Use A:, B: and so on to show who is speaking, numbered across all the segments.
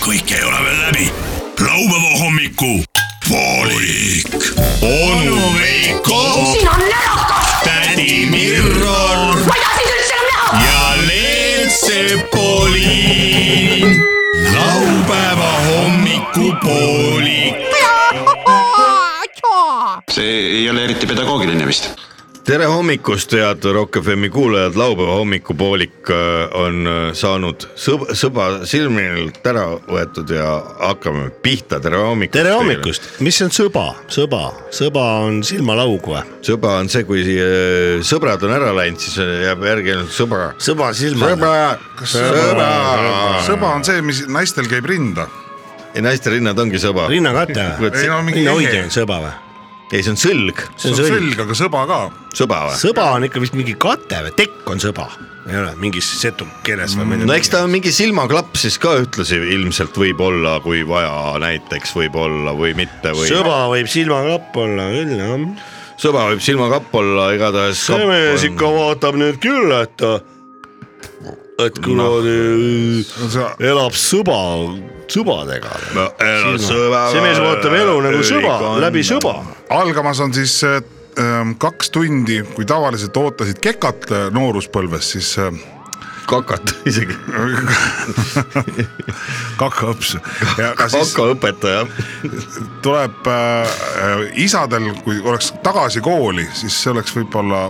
A: kõik ei ole veel läbi . laupäeva hommiku poolik . onu Veiko ,
B: siin on närakas ,
A: tädi Mirro
B: ma ei taha sind üldse enam näha .
A: ja Leelsepoliin . laupäeva hommikupoolik .
C: see ei ole eriti pedagoogiline vist .
D: tere hommikust , head Rock FM-i kuulajad , laupäeva hommikupoolik äh, on äh, saanud sõb- , sõba silmilt ära võetud ja hakkame pihta , tere hommikust .
E: tere hommikust , mis on sõba , sõba , sõba on silmalaug või ?
D: sõba on see , kui äh, sõbrad on ära läinud , siis äh, jääb järgi ainult sõbra .
E: sõba silmale .
D: sõbra , sõbra .
F: sõba on see , mis naistel käib rinda .
D: ei , naiste rinnad ongi sõba .
E: rinnakate või ?
F: ei no mingi
E: rinnahoidja
F: ehe.
E: on sõba või ?
D: ei , see on sõlg ,
E: see
F: see
E: on
F: on
E: sõlg .
F: selg , aga sõba ka .
D: sõba või ?
E: sõba on ikka vist mingi kate või , tekk on sõba , ei ole mingis setu keeles või midagi .
D: no eks ta on mingi silmaklapp siis ka ühtlasi ilmselt võib-olla , kui vaja , näiteks võib-olla või mitte või .
E: sõba võib silmakapp olla küll jah .
D: sõba võib silmakapp olla , igatahes .
E: see mees ikka vaatab nüüd küll , et , et kuna no. elab sõba , sõbadega .
D: sõba .
E: see mees vaatab elu nagu sõba , läbi sõba .
F: algamas on siis äh, ähm, kaks tundi , kui tavaliselt ootasid kekat äh, nooruspõlves , siis äh,
D: kakat isegi ,
F: kakaõps . ja ka siis
D: kakaõpetaja .
F: tuleb äh, isadel , kui oleks tagasi kooli , siis see oleks võib-olla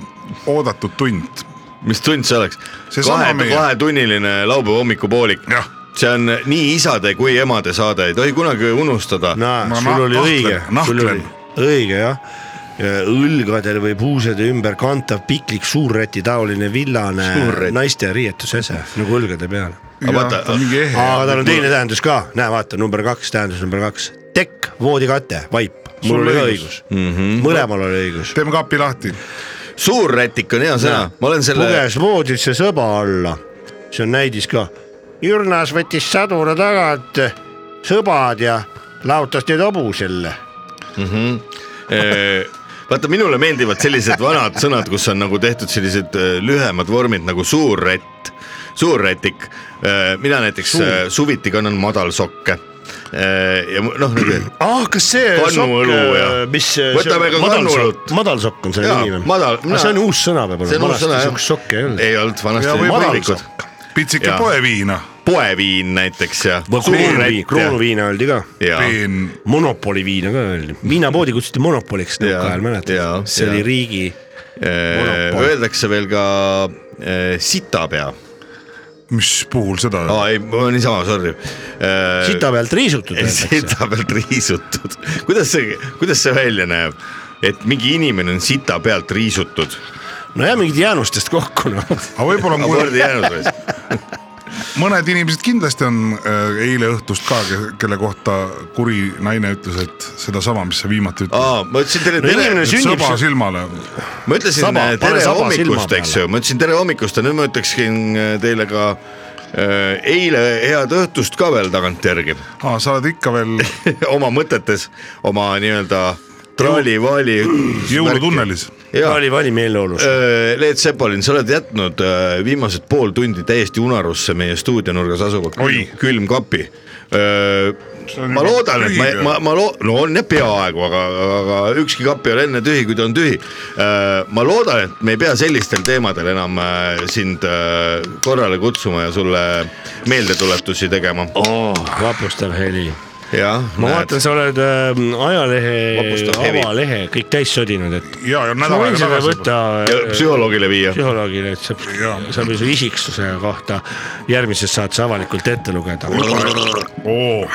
F: oodatud tund .
D: mis tund see oleks ?
F: Seesama
D: kahe ,
F: meie.
D: kahetunniline laupäeva hommikupoolik
F: Jah. .
D: see on nii isade kui emade saade , ei tohi kunagi unustada .
E: näe ,
F: Ma
E: sul
F: nah-
E: oli õige ,
F: nahklen,
E: sul oli
F: nahklen.
E: õige jah . õlgadel või puusede ümber kantav piklik suurräti taoline villane
D: Suurrätt.
E: naiste riietusese nagu õlgade peal .
D: Aga vaata-
F: mingi ehe .
E: aga tal on teine tähendus ka , näe , vaata number kaks , tähendus number kaks , tekk , voodikate , vaip ,
F: Sul
E: mul oli ka õigus
F: õigus.
E: mm , -hmm. mõlemal oli õigus .
F: teeme kapi lahti .
D: suur rätik on hea sõna , ma olen selle ,
E: puges voodisse sõba alla , see on näidis ka . Jürnas võttis sadula tagant sõbad ja laotas need hobusele
D: eh, vaata minule meeldivad sellised vanad sõnad , kus on nagu tehtud sellised eh, lühemad vormid nagu suur rätt , suur rätik . mina näiteks eh, suviti kannan madalsokke . ja mu- noh ,
E: ah , kas see äh,
D: Kannu õlu ja-
E: mis
D: Võtame ka kannu õlut.
E: madalsokk on selle
D: Jaa,
E: nimi või ?
D: madal-
E: aga see on uus sõna võib-olla .
D: see on uus sõna jah .
E: sihukest sokki ei olnud .
D: ei olnud , vanasti
F: Ja
D: olid
F: võib-olla
D: madalikud .
F: pitsike
D: Jaa.
F: poeviina ,
D: poeviin näiteks ja .
E: kroonviin , kroonviina öeldi ka .
D: ja ,
F: peen ,
E: monopoli viina ka öeldi . viinapoodi kutsuti monopoliks
D: Jaa,
E: nõukaajal ,
D: jaa,
E: mäletad ? see
D: jaa.
E: oli riigi . monopol.
D: äh, öeldakse veel ka eh, sitapea ,
F: mis puhul seda
D: aa ei , niisama , sorry .
E: sita pealt riisutud öeldakse .
D: sita pealt riisutud , kuidas see , kuidas see välja näeb , et mingi inimene on sita pealt riisutud ,
E: nojah , mingid jäänustest kokku noh .
F: aga võib-olla on kuul-
D: korda jäänud või ?
F: mõned inimesed kindlasti on äh, eile õhtust ka , kelle kohta kuri naine ütles , et sedasama , mis sa viimati ütlesid .
D: aa , ma ütlesin teile
E: No inimene
D: tere ,
E: sünnib
F: sõba
E: see-
F: silmale ,
D: ma ütlesin
E: Saba,
D: saba,
E: pane
D: tere
E: saba
D: hommikust ,
E: silma
D: eks ju , ma ütlesin tere hommikust ja nüüd ma ütleksin teile ka äh, eile head õhtust ka veel tagantjärgi
F: aa , sa oled ikka veel
D: oma mõtetes , oma nii-öelda traali-vaali .
F: jõulutunnelis .
D: jaa ,
E: oli valimeeleolus .
D: Leet Sepolin , sa oled jätnud äh, viimased pool tundi täiesti unarusse meie stuudionurgas asuva
F: Oi.
D: külmkapi .
F: See on
D: Äh, ma
F: juba
D: loodan , et ma
F: tühi , või?
D: ma , ma loo- , no on jah peaaegu , aga , aga ükski kapp ei ole enne tühi , kui ta on tühi . ma loodan , et me ei pea sellistel teemadel enam äh, sind äh, korrale kutsuma ja sulle meeldetuletusi tegema .
E: vapustav heli
D: jah ,
E: ma vaatan , sa oled äh, ajalehe
D: Vapustav , hevi.
E: avalehe kõik täis sodinud , et .
F: ja , ja nädal aega
E: seda
F: tagasi
E: võtta
F: juba.
E: äh,
D: psühholoogile viia .
E: psühholoogile , et saab , saab su isiksuse kohta järgmises saates avalikult ette lugeda .
F: Oo,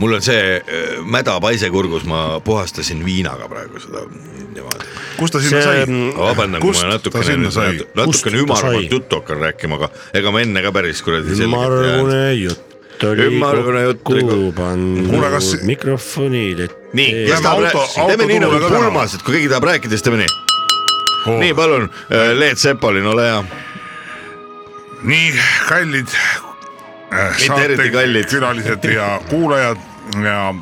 D: mul on see äh, mäda paise kurgus , ma puhastasin viinaga praegu seda niimoodi .
F: kust ta sinna
E: See- mm,
F: sai ?
D: vabandan , kui
F: Kust
D: ma
F: ta
D: natukene
F: sinna , sai?
E: Kust ta
D: natukene
E: sai?
D: ümarvat juttu hakkan rääkima , aga ega ma enne ka päris kuradi selgelt .
E: ümmargune jutt oli
D: Ümmargune jutt oli
E: kokku
D: kokku-
F: Kuule, kas-
E: pandud mikrofonile .
D: nii , kes
F: Lähme
D: tahab
F: auto-
D: rääkida , teeme nii nagu
F: autoturule ka täna.
D: pulmas , et kui keegi tahab rääkida , siis teeme nii .
E: Oh.
F: Oo.
D: nii , palun , Leet Sepolin , ole hea .
F: nii kallid äh,
D: Mitte
F: saate
D: eriti kallid.
F: külalised ja kuulajad ja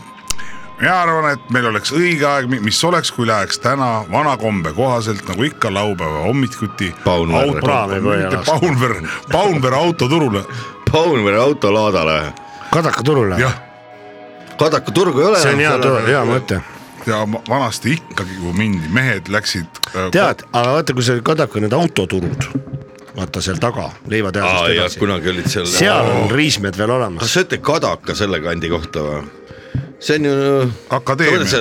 F: mina arvan , et meil oleks õige aeg , mis oleks , kui läheks täna vana kombe kohaselt nagu ikka laupäeva hommikuti .
D: Paunver.
E: Praame kohe lasta.
F: Paunver , Paunver autoturule
D: Paunvere autolaadale .
E: Kadaka turule .
F: jah ,
D: Kadaka turgu ei ole .
E: see on hea , hea . mõte .
F: ja ma- vanasti ikkagi , kui mindi , mehed läksid . äh,
E: tead , aga vaata , kui see Kadaka need autoturud , vaata seal taga ,
D: aa
E: leivatehasest
D: jah ,
E: edasi ,
D: kunagi olid seal .
E: seal on riismed veel olemas
D: kas . sa ütled Kadaka selle kandi kohta või ? see on ju .
F: Akadeemia. .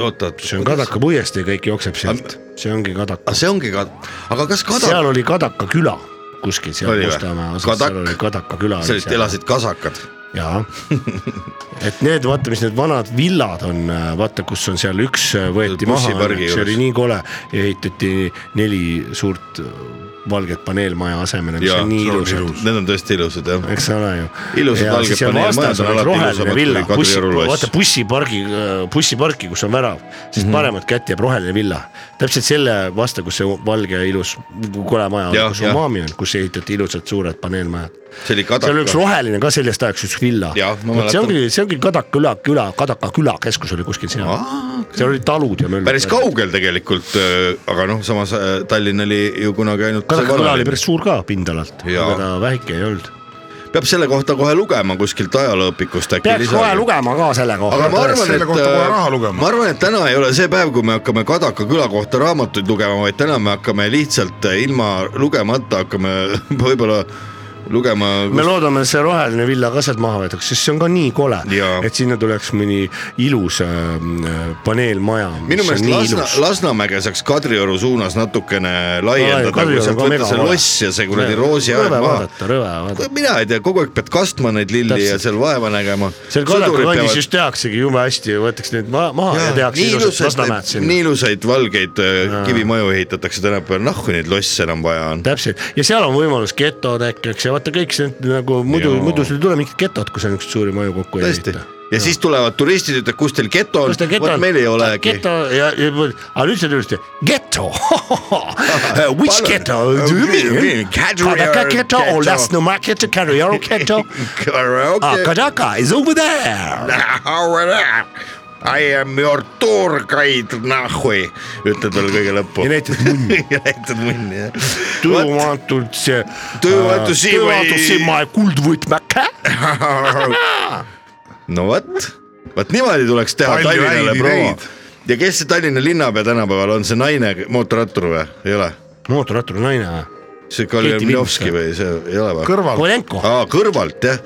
D: oota ,
E: see on . Kadaka puiestee , kõik jookseb sealt , see ongi Kadaka
D: aga , see ongi Kad- , aga kas Kadaka ,
E: seal oli Kadaka küla kuskil seal
D: Oli või?
E: Mustamäe osas ,
D: Kadak-
E: seal oli Kadaka küla .
D: sa olid , elasid kasakad ?
E: jaa , et need , vaata , mis need vanad villad on , vaata , kus on seal üks äh, võeti maha ,
D: Bussipargi
E: see oli
D: juures.
E: nii kole , ehitati neli suurt äh, valget paneelmaja asemele , mis on nii ilusad .
D: Need on tõesti ilusad jah .
E: eks ole ju .
D: Ilusad valged paneelmajad on alati ilusamad kui Kadrioru loss.
E: vaata bussipargi , bussiparki , kus on värav , siis mm
D: Mhm.
E: -hmm. paremat kätt jääb roheline villa . täpselt selle vastu , kus see valge ja ilus kole maja
D: Jah,
E: on , kus
D: jah.
E: umami on , kus ehitati ilusad suured paneelmajad .
D: see oli
E: seal oli üks
D: Kadaka .
E: roheline ka sellest ajaks üks villa .
D: Jah, ma
E: see
D: mäletan.
E: ongi , see ongi Kadaka küla , küla , Kadaka külakeskus oli kuskil seal . seal olid talud ja möll .
D: päris . kaugel tegelikult , aga noh , samas äh, Tallinn oli ju kunagi ainult .
E: Kadaka küla oli päris suur ka pindalalt ,
D: Jaa.
E: aga ta väike ei olnud .
D: peab selle kohta kohe lugema kuskilt ajalooõpikust äkki .
E: peaks kohe lugema ka selle kohta
D: aga . ma arvan ,
F: selle
D: et äh,
F: kohta kohe raha lugema.
D: ma arvan , et täna ei ole see päev , kui me hakkame Kadaka küla kohta raamatuid lugema , vaid täna me hakkame lihtsalt äh, ilma lugemata hakkame võib-olla lugema
E: me loodame , et see roheline villa ka sealt maha võetakse , sest see on ka nii kole
D: Jaa. ,
E: et sinna tuleks mõni ilus äh, paneelmaja .
D: minu meelest Lasna , Lasnamäge saaks Kadrioru suunas natukene laiendada , kui sealt võtta see loss ja see kuradi roosiaed maha .
E: rõve vaadata , rõve vaadata .
D: mina ei tea , kogu aeg pead kastma neid lilli Täpselt. ja
E: Täpselt.
D: seal vaeva nägema .
E: seal Kadaka kandis just tehaksegi jube hästi , võetakse need ma- maha ja, ja tehakse
D: nii
E: ilusat Lasnamäed
D: ilusaid , nii
E: sinna .
D: ilusaid valgeid äh, kivimaju ehitatakse tänapäeval , nahku neid losse enam vaja on .
E: täpselt ja seal on võimalus getod äkki , eks ja vaata kõik see nagu muidu ,
D: Jaa.
E: muidu sul ei tule mingit getot , kui sa niisuguseid suuri maju kokku ei
D: tõesti
E: ehita .
D: ja siis tulevad turistid , ütlevad , kus teil geto on
E: kus ta , geto
D: vot
E: on ?
D: meil ei olegi .
E: geto ja , ja , aga nüüd sa tulid , geto Which
D: Palun.
E: geto do you
D: Mida
E: mean
D: mean? ? Kadrioru
E: Kadaka geto
D: ghetto.
E: or Lasnamäe geto , Kadrioru geto ? Ah,
D: Karaoke .
E: Kadaka is over there .
D: I am your tour guide , e nahui , ütle talle kõige lõppu .
E: Ja näitad
D: munni . ja näitad munni , jah .
E: Do you want to see ?
D: Do you want to see
E: Do you
D: my-
E: want to see my kuldvõtmeke ?
D: no vot , vot niimoodi tuleks teha
F: Palju
D: Tallinnale
F: häid
D: promo
F: ideid. .
D: ja kes see Tallinna linnapea tänapäeval on , see naine , mootorrattur või , ei ole ?
E: mootorratturi naine või ?
D: see
E: Keiti Vilms
D: Kaljanovski või see , ei ole või ?
F: kõrval ,
E: Kovalenko ,
D: aa , kõrvalt jah ,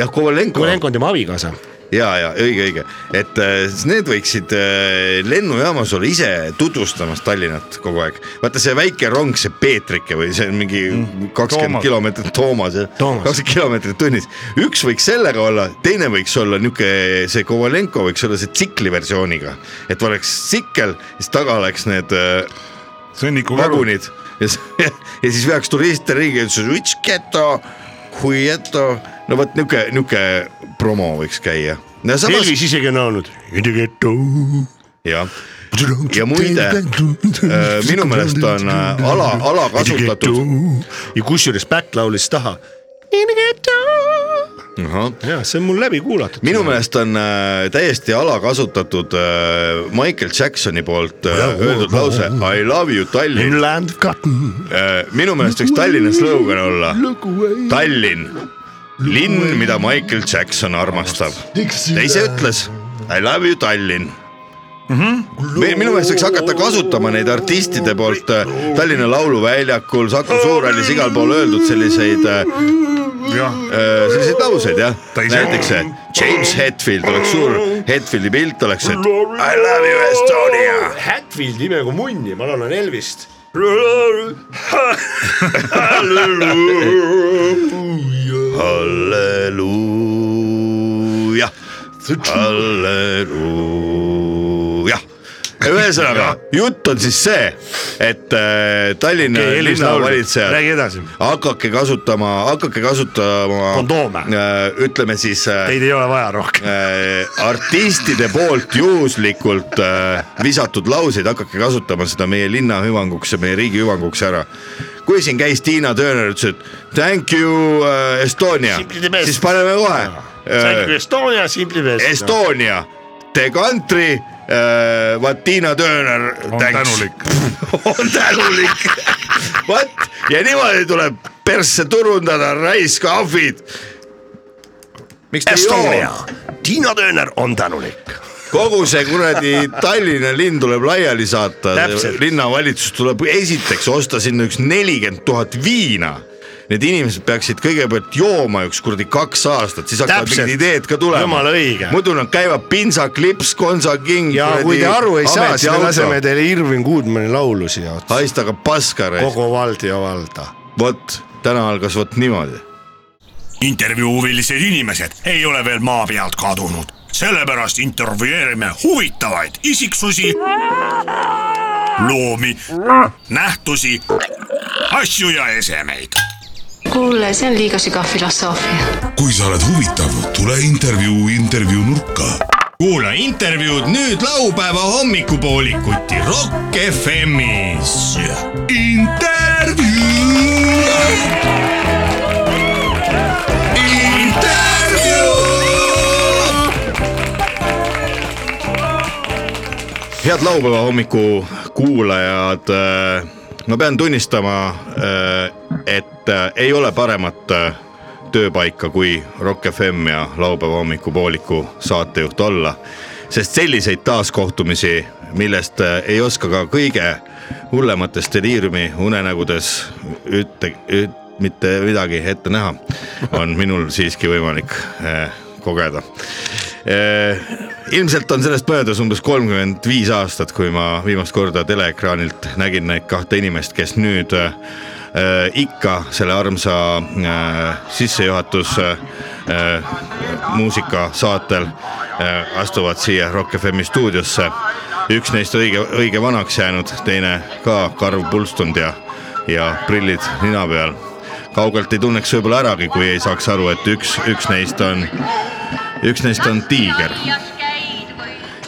D: jah , Kovalenko .
E: Kovalenko on tema abikaasa .
D: ja , ja õige , õige , et äh, s- need võiksid äh, lennujaamas olla ise tutvustamas Tallinnat kogu aeg . vaata see väike rong , see Peetrike või see on mingi kakskümmend
F: Toomas.
D: kilomeetrit , Toomas jah ,
E: Toomas.
D: kakskümmend kilomeetrit tunnis . üks võiks sellega olla , teine võiks olla niuke , see Kovalenko võiks olla see tsikli versiooniga , et oleks tsikkel , siis taga oleks need äh,
F: sõnniku kõrval .
D: vagunid ja, s- ja siis veaks turiste ringi ja ütles , which ghetto , who ghetto , no vot niuke , niuke promo võiks käia . no samas
E: Elvis isegi on olnud . In the ghetto .
D: jah , Ja muide, äh, minu meelest on, äh, ala- alakasutatud- .
E: ja kusjuures Back laulis taha . In the ghetto . ja see on mul läbi kuulatud .
D: minu . meelest on äh, täiesti alakasutatud äh, Michael Jacksoni poolt äh, öeldud lause I love you Tallinn
E: In . land of cotton .
D: Äh, minu meelest võiks Tallinna slogan olla Tallinn , linn , mida Michael Jackson armastab . ta ise ütles I love you Tallinn mm . -hmm. minu meelest võiks hakata kasutama neid artistide poolt äh, Tallinna Lauluväljakul , Saku Suurhallis igal pool öeldud selliseid äh,
F: jah ,
D: äh, selliseid lauseid jah ,
F: Ta ise-
D: näiteks see James Hetfield oleks suur Hetfieldi pilt oleks , et I love you Estonia .
E: Hatfield ime kui munni , ma laulan Elvist .
D: halleluuja , halleluuja . ühesõnaga , jutt on siis see , et äh, Tallinna
E: Okei,
D: okay,
E: Elis laulab.
D: linnavalitsejad .
E: Räägi edasi.
D: hakake kasutama , hakake kasutama .
E: Kondoome.
D: ütleme siis äh,
E: Teid ei ole vaja rohkem .
D: äh, artistide poolt juhuslikult äh, visatud lauseid , hakake kasutama seda meie linna hüvanguks ja meie riigi hüvanguks ära . kui siin käis Tiina Turner , ütles , et thank you äh, Estonia ,
E: Simply the best. Ah,
D: siis paneme kohe
E: Thank you
D: äh,
E: nagu Estonia , Simply Best .
D: Estonia , the country äh, , vaat Tiina Turner .
F: on tänulik .
D: on tänulik , vot ja niimoodi tuleb persse turundada raisk ahvid miks te ei joo ?
G: Estonia , Tiina Tööner on tänulik .
D: kogu see kuradi Tallinna linn tuleb laiali saata
G: Täpselt. ,
D: linnavalitsus tuleb esiteks osta sinna üks nelikümmend tuhat viina . Need inimesed peaksid kõigepealt jooma üks kuradi kaks aastat , siis hakkavad
E: Täpselt.
D: mingid ideed ka tulema
E: Jumala õige. .
D: muidu nad käivad pintsak , lips , konsaking .
E: ja kui te aru ei saa , siis me laseme teile Irving Goodmani laulu siia otsa .
D: haista ka paska raisk ,
E: kogu vald ja valda .
D: vot täna algas vot niimoodi .
G: intervjuu huvilised inimesed ei ole veel maa pealt kadunud , sellepärast intervjueerime huvitavaid isiksusi , loomi , nähtusi , asju ja esemeid .
B: kuule , see on liiga sügav filosoofia .
A: kui sa oled huvitav , tule intervjuu intervjuu nurka . kuula intervjuud nüüd laupäeva hommikupoolikuti Rock FM-is . intervjuu . intervjuu .
D: head laupäeva hommiku kuulajad . ma pean tunnistama , et äh, ei ole paremat äh, tööpaika kui Rock FM ja laupäeva hommikupooliku saatejuht olla , sest selliseid taaskohtumisi , millest äh, ei oska ka kõige hullemates deliiriumi unenägudes ütle , mitte midagi ette näha , on minul siiski võimalik äh, kogeda . Äh, ilmselt on sellest möödas umbes kolmkümmend viis aastat , kui ma viimast korda teleekraanilt nägin neid kahte inimest , kes nüüd äh, äh, ikka selle armsa äh, sissejuhatus äh, äh, muusika saatel äh, astuvad siia Rock FM-i stuudiosse . üks neist õige , õige vanaks jäänud , teine ka karv pulstund ja , ja prillid nina peal . kaugelt ei tunneks võib-olla äragi , kui ei saaks aru , et üks , üks neist on üks neist on tiiger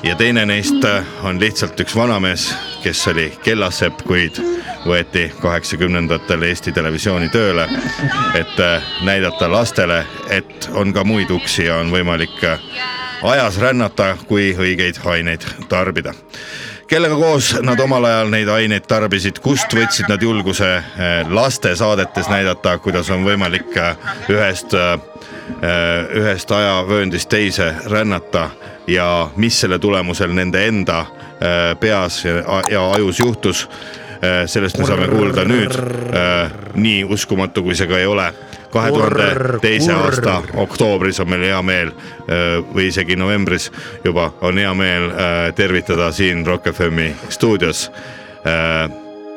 D: ja teine neist on lihtsalt üks vanamees , kes oli kellasepp , kuid võeti kaheksakümnendatel Eesti Televisiooni tööle , et äh, näidata lastele , et on ka muid uksi ja on võimalik äh, ajas rännata , kui õigeid aineid tarbida kellega koos nad omal ajal neid aineid tarbisid , kust võtsid nad julguse äh, lastesaadetes näidata , kuidas on võimalik äh, ühest , ühest ajavööndist teise rännata ja mis selle tulemusel nende enda äh, peas ja ja ajus juhtus . sellest me saame kuulda nüüd , nii uskumatu kui see ka ei ole kahe tuhande teise
E: kurr.
D: aasta oktoobris on meil hea meel öö, või isegi novembris juba on hea meel öö, tervitada siin Rock FM-i stuudios öö,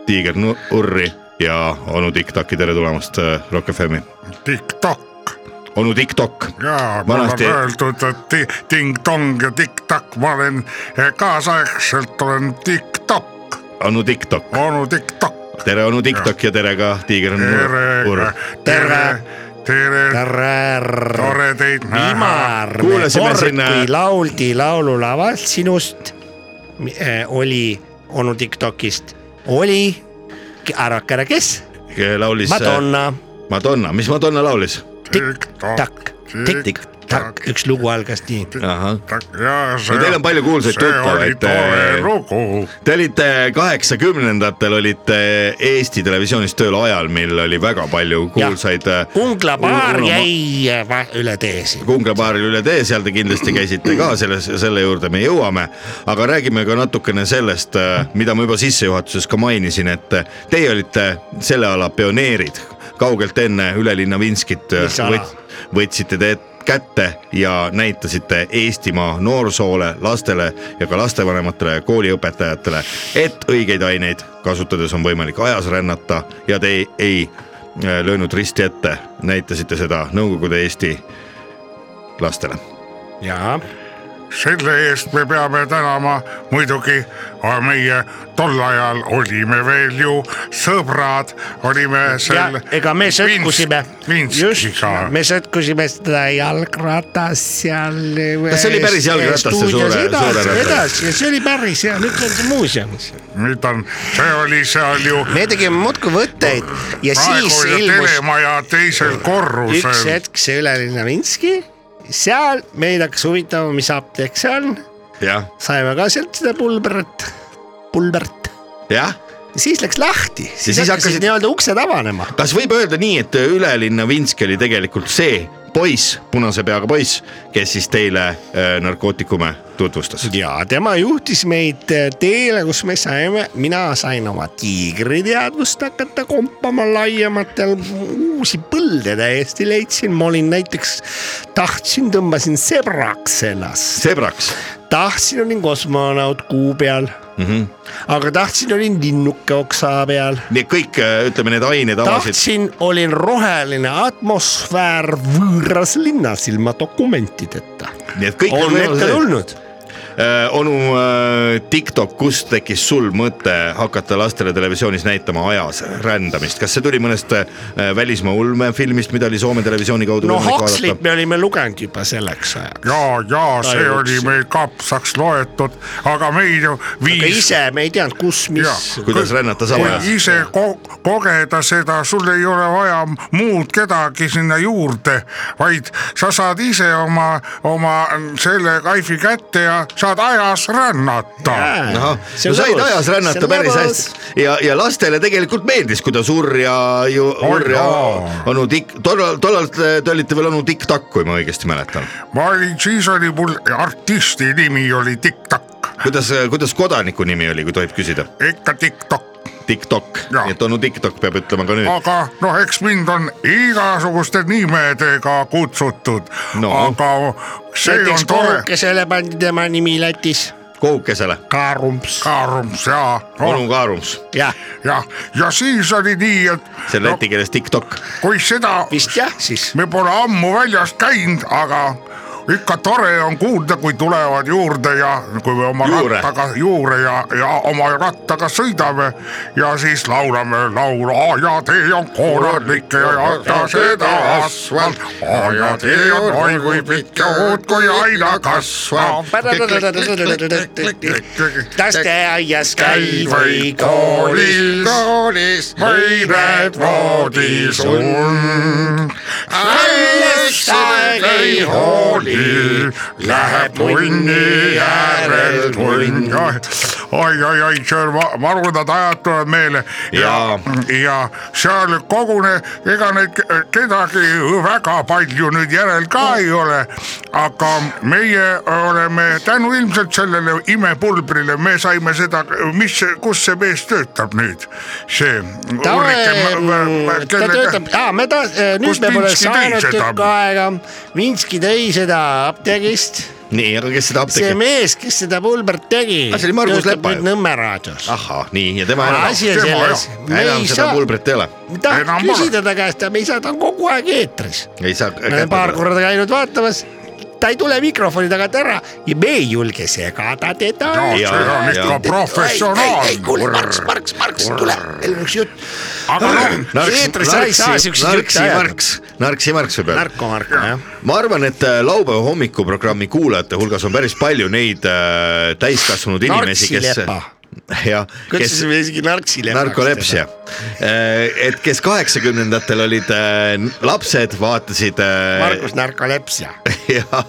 D: Tiiger Nu- Urri ja onu Tiktaki , tere tulemast öö, Rock FM-i .
F: tiktok
D: onu Tiktok ,
F: ja mul on
D: Vanasti-
F: öeldud , et ti- ting-tong ja tiktak , ma olen eh, kaasaegselt olen tiktok ,
D: onu Tiktok ,
F: onu tiktok .
D: tere onu Tiktok ja tere ka Tiiger Nu-
F: tere
D: Urr .,
F: tere , tere ,
E: tore
F: tore teid näha .
E: Imar
D: Kuulasime sinna-
E: Orpi lauldi laululavalt sinust mi- eh, oli onu Tiktokist , oli , arvake ära , kes ?
D: laulis äh,
E: Madonna ,
D: Madonna , mis Madonna laulis ?
E: tikk-takk , tikk-takk , üks lugu algas nii .
D: ahah ,
F: ja see .
D: No teil on palju kuulsaid tuttavaid,
F: see oli
D: eh,
F: tore lugu .
D: Te olite kaheksakümnendatel olite Eesti Televisioonis tööl ajal , mil oli väga palju kuulsaid . äh,
E: Ungla baar . jäi eh, va- üle tee siin .
D: Kungla baaril üle tee , seal te kindlasti käisite ka selles , selle juurde me jõuame , aga räägime ka natukene sellest , mida ma juba sissejuhatuses ka mainisin , et äh, teie olite selle ala pioneerid kaugelt enne Ülelinna Vinskit
E: Mis ala?
D: võt, võtsite te kätte ja näitasite Eestimaa noorsoole , lastele ja ka lastevanematele ja kooliõpetajatele , et õigeid aineid kasutades on võimalik ajas rännata ja te ei, ei löönud risti ette , näitasite seda Nõukogude Eesti lastele .
E: jaa ,
F: selle eest me peame tänama muidugi aga meie tol ajal olime veel ju sõbrad , olime
E: ja
F: seal .
E: ega me sõtkusime , just
F: Minskiga ,.
E: me sõtkusime seda jalgratas seal .
D: Kas see oli päris jalgratas, see suure- suure
E: edasi ,
D: ratas?
E: edasi , see oli päris ja nüüd on see muuseumis .
F: nüüd on , see oli seal ju
E: me tegime muudkui võtteid ja siis
F: praegu ju
E: ilmus
F: telemaja teisel
E: üks
F: korrusel .
E: hetk see Ülelinna Minski , seal meid hakkas huvitama , mis apteek see on ,
D: jah ,
E: saime ka sealt seda pulbrit , pulbrit ,
D: jah ,
E: siis läks lahti , siis
D: siis
E: hakkasid
D: hakkasid-
E: nii-öelda uksed avanema .
D: kas võib öelda nii , et Ülelinna Vinski oli tegelikult see poiss , punase peaga poiss , kes siis teile äh, narkootikume tutvustas .
E: ja tema juhtis meid teele , kus me saime , mina sain oma tiigriteadvust hakata kompama laiematel , uusi põlde täiesti leidsin , ma olin näiteks , tahtsin , tõmbasin sebraks ennast ,
D: sebraks ,
E: tahtsin , olin kosmonaut kuu peal mm .
D: Mhm.
E: -hmm. aga tahtsin , olin linnuke oksa peal ,
D: nii et kõik äh, ütleme , need ained avasid .
E: tahtsin , olin roheline atmosfäär võõras linnas ilma dokumentideta .
D: nii et kõik
E: on
D: võimalused-
E: ette tulnud
D: Äh, onu äh, TikTok , kust tekkis sul mõte hakata lastele televisioonis näitama ajas rändamist , kas see tuli mõnest äh, välismaa ulmefilmist , mida oli Soome televisiooni kaudu
E: no
D: võimalik
E: Huxley't
D: vaadata ?
E: me olime lugenud juba selleks ajaks .
F: ja , ja see
E: Ai,
F: oli
E: üks.
F: meil kapsaks loetud , aga meid ju
E: aga
F: viis .
E: ise me ei teadnud , kus , mis .
F: Jaa.
D: kuidas rännata sama ajas ?
F: ise ko kogeda seda , sul ei ole vaja muud kedagi sinna juurde , vaid sa saad ise oma , oma selle kaifi kätte ja saad ajas rännata .
D: ahah , no said ajas rännata päris hästi ja , ja lastele tegelikult meeldis , kuidas Urja ju , Urja
F: jaa.
D: onu Tik- , tollal , tollal te olite veel onu Tiktak , kui ma õigesti mäletan .
F: ma olin , siis oli mul artisti nimi oli Tiktak ,
D: kuidas , kuidas kodaniku nimi oli , kui tohib küsida ?
F: ikka Tiktak
D: Tiktok ,
F: Jaa.
D: nii et onu Tiktok peab ütlema ka nüüd .
F: aga noh , eks mind on igasuguste nimedega kutsutud
D: No.
F: aga see
E: näiteks
F: on tore .
E: kohukesele pandi tema nimi Lätis ,
D: kohukesele ,
E: Kaarumps .
F: Kaarums ja
D: onu , Kaarums ,
E: jah ,
F: ja , ja siis oli nii , et
D: see on läti keeles Tiktok .
F: kui seda
E: vist jah siis .
F: me pole ammu väljas käinud , aga ikka tore on kuulda , kui tulevad juurde ja kui me oma
D: Juure.
F: rattaga juurde ja , ja oma rattaga sõidame ja siis laulame laulu Aiatee on korralik ja jata seda asfalt , aiatee on oi kui pikk ja uut kui aina kasvab .
E: lasteaias
F: käi
E: käi
F: või
E: või koolis ,
F: koolis , või näed voodis und . alles sa ei hooli , läheb tunni äärel tund . oi , oi , oi , seal ma- marunad ajad tulevad meile ja , ja seal kogune , ega neid ke- kedagi väga palju nüüd järel ka ei ole . aga meie oleme tänu ilmselt sellele imepulbrile , me saime seda , mis , kus see mees töötab nüüd , see .
E: ta , ta töötab , aa , me ta ,
F: Kus
E: nüüd me pole
F: Vinski tõi
E: saanud
F: seda?
E: tükk aega , Vinski tõi seda apteegist ,
D: nii , aga kes seda
E: see
D: apteeki ?
E: mees , kes seda pulbrit tegi ,
D: Ah, see oli Margus Lepa ju.
E: nüüd Nõmme raadios .
D: ahhaa , nii ja tema
E: aga
D: enam ,
E: asi on
F: tema
E: selles , me
D: enam
E: ei
D: seda
E: saa ,
D: pulbrit ei ole ,
E: tahaks
F: enam pole.
E: küsida ta käest , aga me ei saa , ta on kogu aeg eetris .
D: ei saa .
E: me oleme paar korda käinud vaatamas , ta ei tule mikrofoni tagant ära ja me ei julge segada teda .
F: no see
D: Jaa,
F: on
D: jaa.
F: ikka
E: ei , ei , kuule ,
F: professionaal
E: Marks , Marks , Marks , tule , meil on üks jutt .
F: aga noh ,
E: eetris sa ei saa siukseid jutte
D: narksi
E: ajada .
D: marks , narksi marks võib öelda .
E: narkomarko , jah .
D: ma arvan , et äh, laupäeva hommikuprogrammi kuulajate hulgas on päris palju neid äh, täiskasvanud inimesi , kes
E: Narksilepa. .
D: jah , kes
E: kutsusime isegi narksilepaks .
D: narkolepsia ., Äh, et kes kaheksakümnendatel olid äh, n- lapsed , vaatasid .
E: Margus narkolepsia .
D: jah ,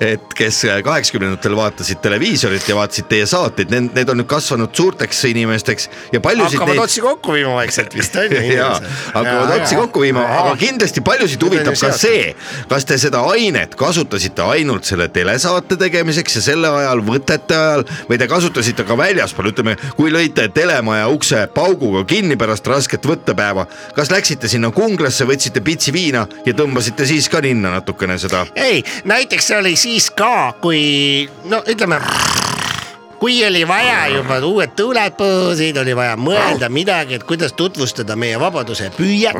D: et kes kaheksakümnendatel vaatasid televiisorit ja vaatasid teie saateid , need , need on nüüd kasvanud suurteks inimesteks ja paljusid
E: hakkavad
D: neid-
E: otsi kokku viima vaikselt vist on ju .
D: jaa , hakkavad otsi kokku viima , aga kindlasti paljusid
E: Nüüd on
D: huvitab
E: ju
D: ka
E: seotud.
D: see , kas te seda ainet kasutasite ainult selle telesaate tegemiseks ja selle ajal , võtete ajal või te kasutasite ka väljaspool , ütleme , kui lõite telemaja ukse pauguga kinni pärast rasket võttepäeva , kas läksite sinna kunglasse , võtsite pitsi viina ja tõmbasite siis ka ninna natukene seda
E: ei , näiteks see oli siis ka , kui no ütleme , kui oli vaja juba uued tuuled põõsid , oli vaja mõelda midagi , et kuidas tutvustada meie vabaduse püüet .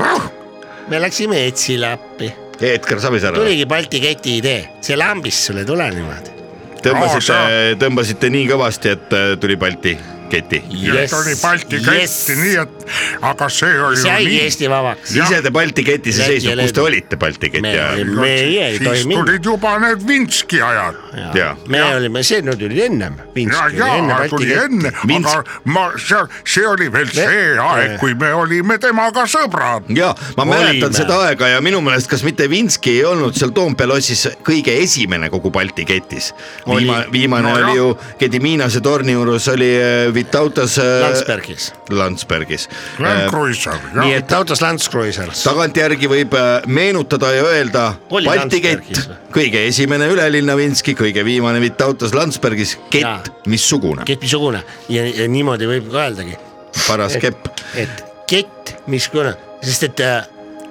E: me läksime Etsile appi ,
D: Edgar Savisaarele ?
E: tuligi Balti keti idee , see lambist sulle ei tule niimoodi .
D: tõmbasite
F: Aa, ,
D: tõmbasite nii kõvasti , et äh, tuli Balti keti .
F: nüüd oli Balti kett , nii et aga see oli ju
E: sai
F: nii
E: Eesti vabaks .
D: ise te Balti keti sees
E: Läti ja
D: seisnud , kus te
E: Leedu.
D: olite Balti keti
E: me
D: ajal ?
E: olime , meie ei tohi
F: siis
E: minna .
F: tulid juba need Vinski ajad .
D: jaa.
E: me olime , see nüüd oli ennem .
F: ja , ja tuli enne ,
D: Minsk-
F: aga ma seal , see oli veel see aeg , kui me olime temaga sõbrad .
D: ja ma
E: Olime.
D: mäletan seda aega ja minu meelest , kas mitte Vinski ei olnud seal Toompea lossis kõige esimene kogu Balti ketis .
E: Oli.
D: viimane , viimane
F: No
D: no,
F: jah.
D: oli ju Gedimiinase torni juures oli äh, Vitautas äh,
E: Landsbergis .
D: Landsbergis Äh,
F: Land Cruiser ,
E: nii
F: jah .
E: et autos Land Cruiser .
D: tagantjärgi võib äh, meenutada ja öelda
E: Oli
D: Balti kett
E: Landsbergis või? ,
D: kõige esimene ülelinna Vinski , kõige viimane mitte autos Landsbergis , kett
E: Jaa. ,
D: missugune ,
E: kett missugune ja, ja niimoodi võib ka öeldagi , Eh.
D: paras kepp .
E: et kett missugune , sest et äh,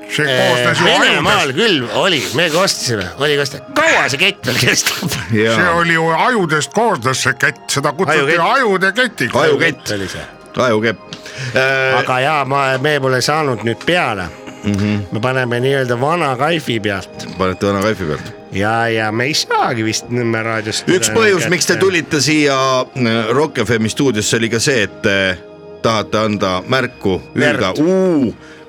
F: see koosnes ju
E: Venemaal
F: ajudest ,
E: küll oli , me ka ostsime , oli ka osta , kaua see kett veel kestab ?
F: see oli ju ajudest koosnes see kett , seda kutsuti
E: Ajukett.
F: ajude ketiks .
D: Ajukett.
E: oli see ,
D: ajukepp . Äh,
E: aga ja ma , me pole saanud nüüd peale mm .
D: Mhm.
E: -hmm. me paneme nii-öelda vana kaifi pealt
D: panete vana kaifi pealt .
E: ja , ja me ei saagi vist Nõmme raadiost .
D: üks põhjus , miks te . tulite siia äh, Rock FM stuudiosse oli ka see , et te tahate anda märku Ülga ,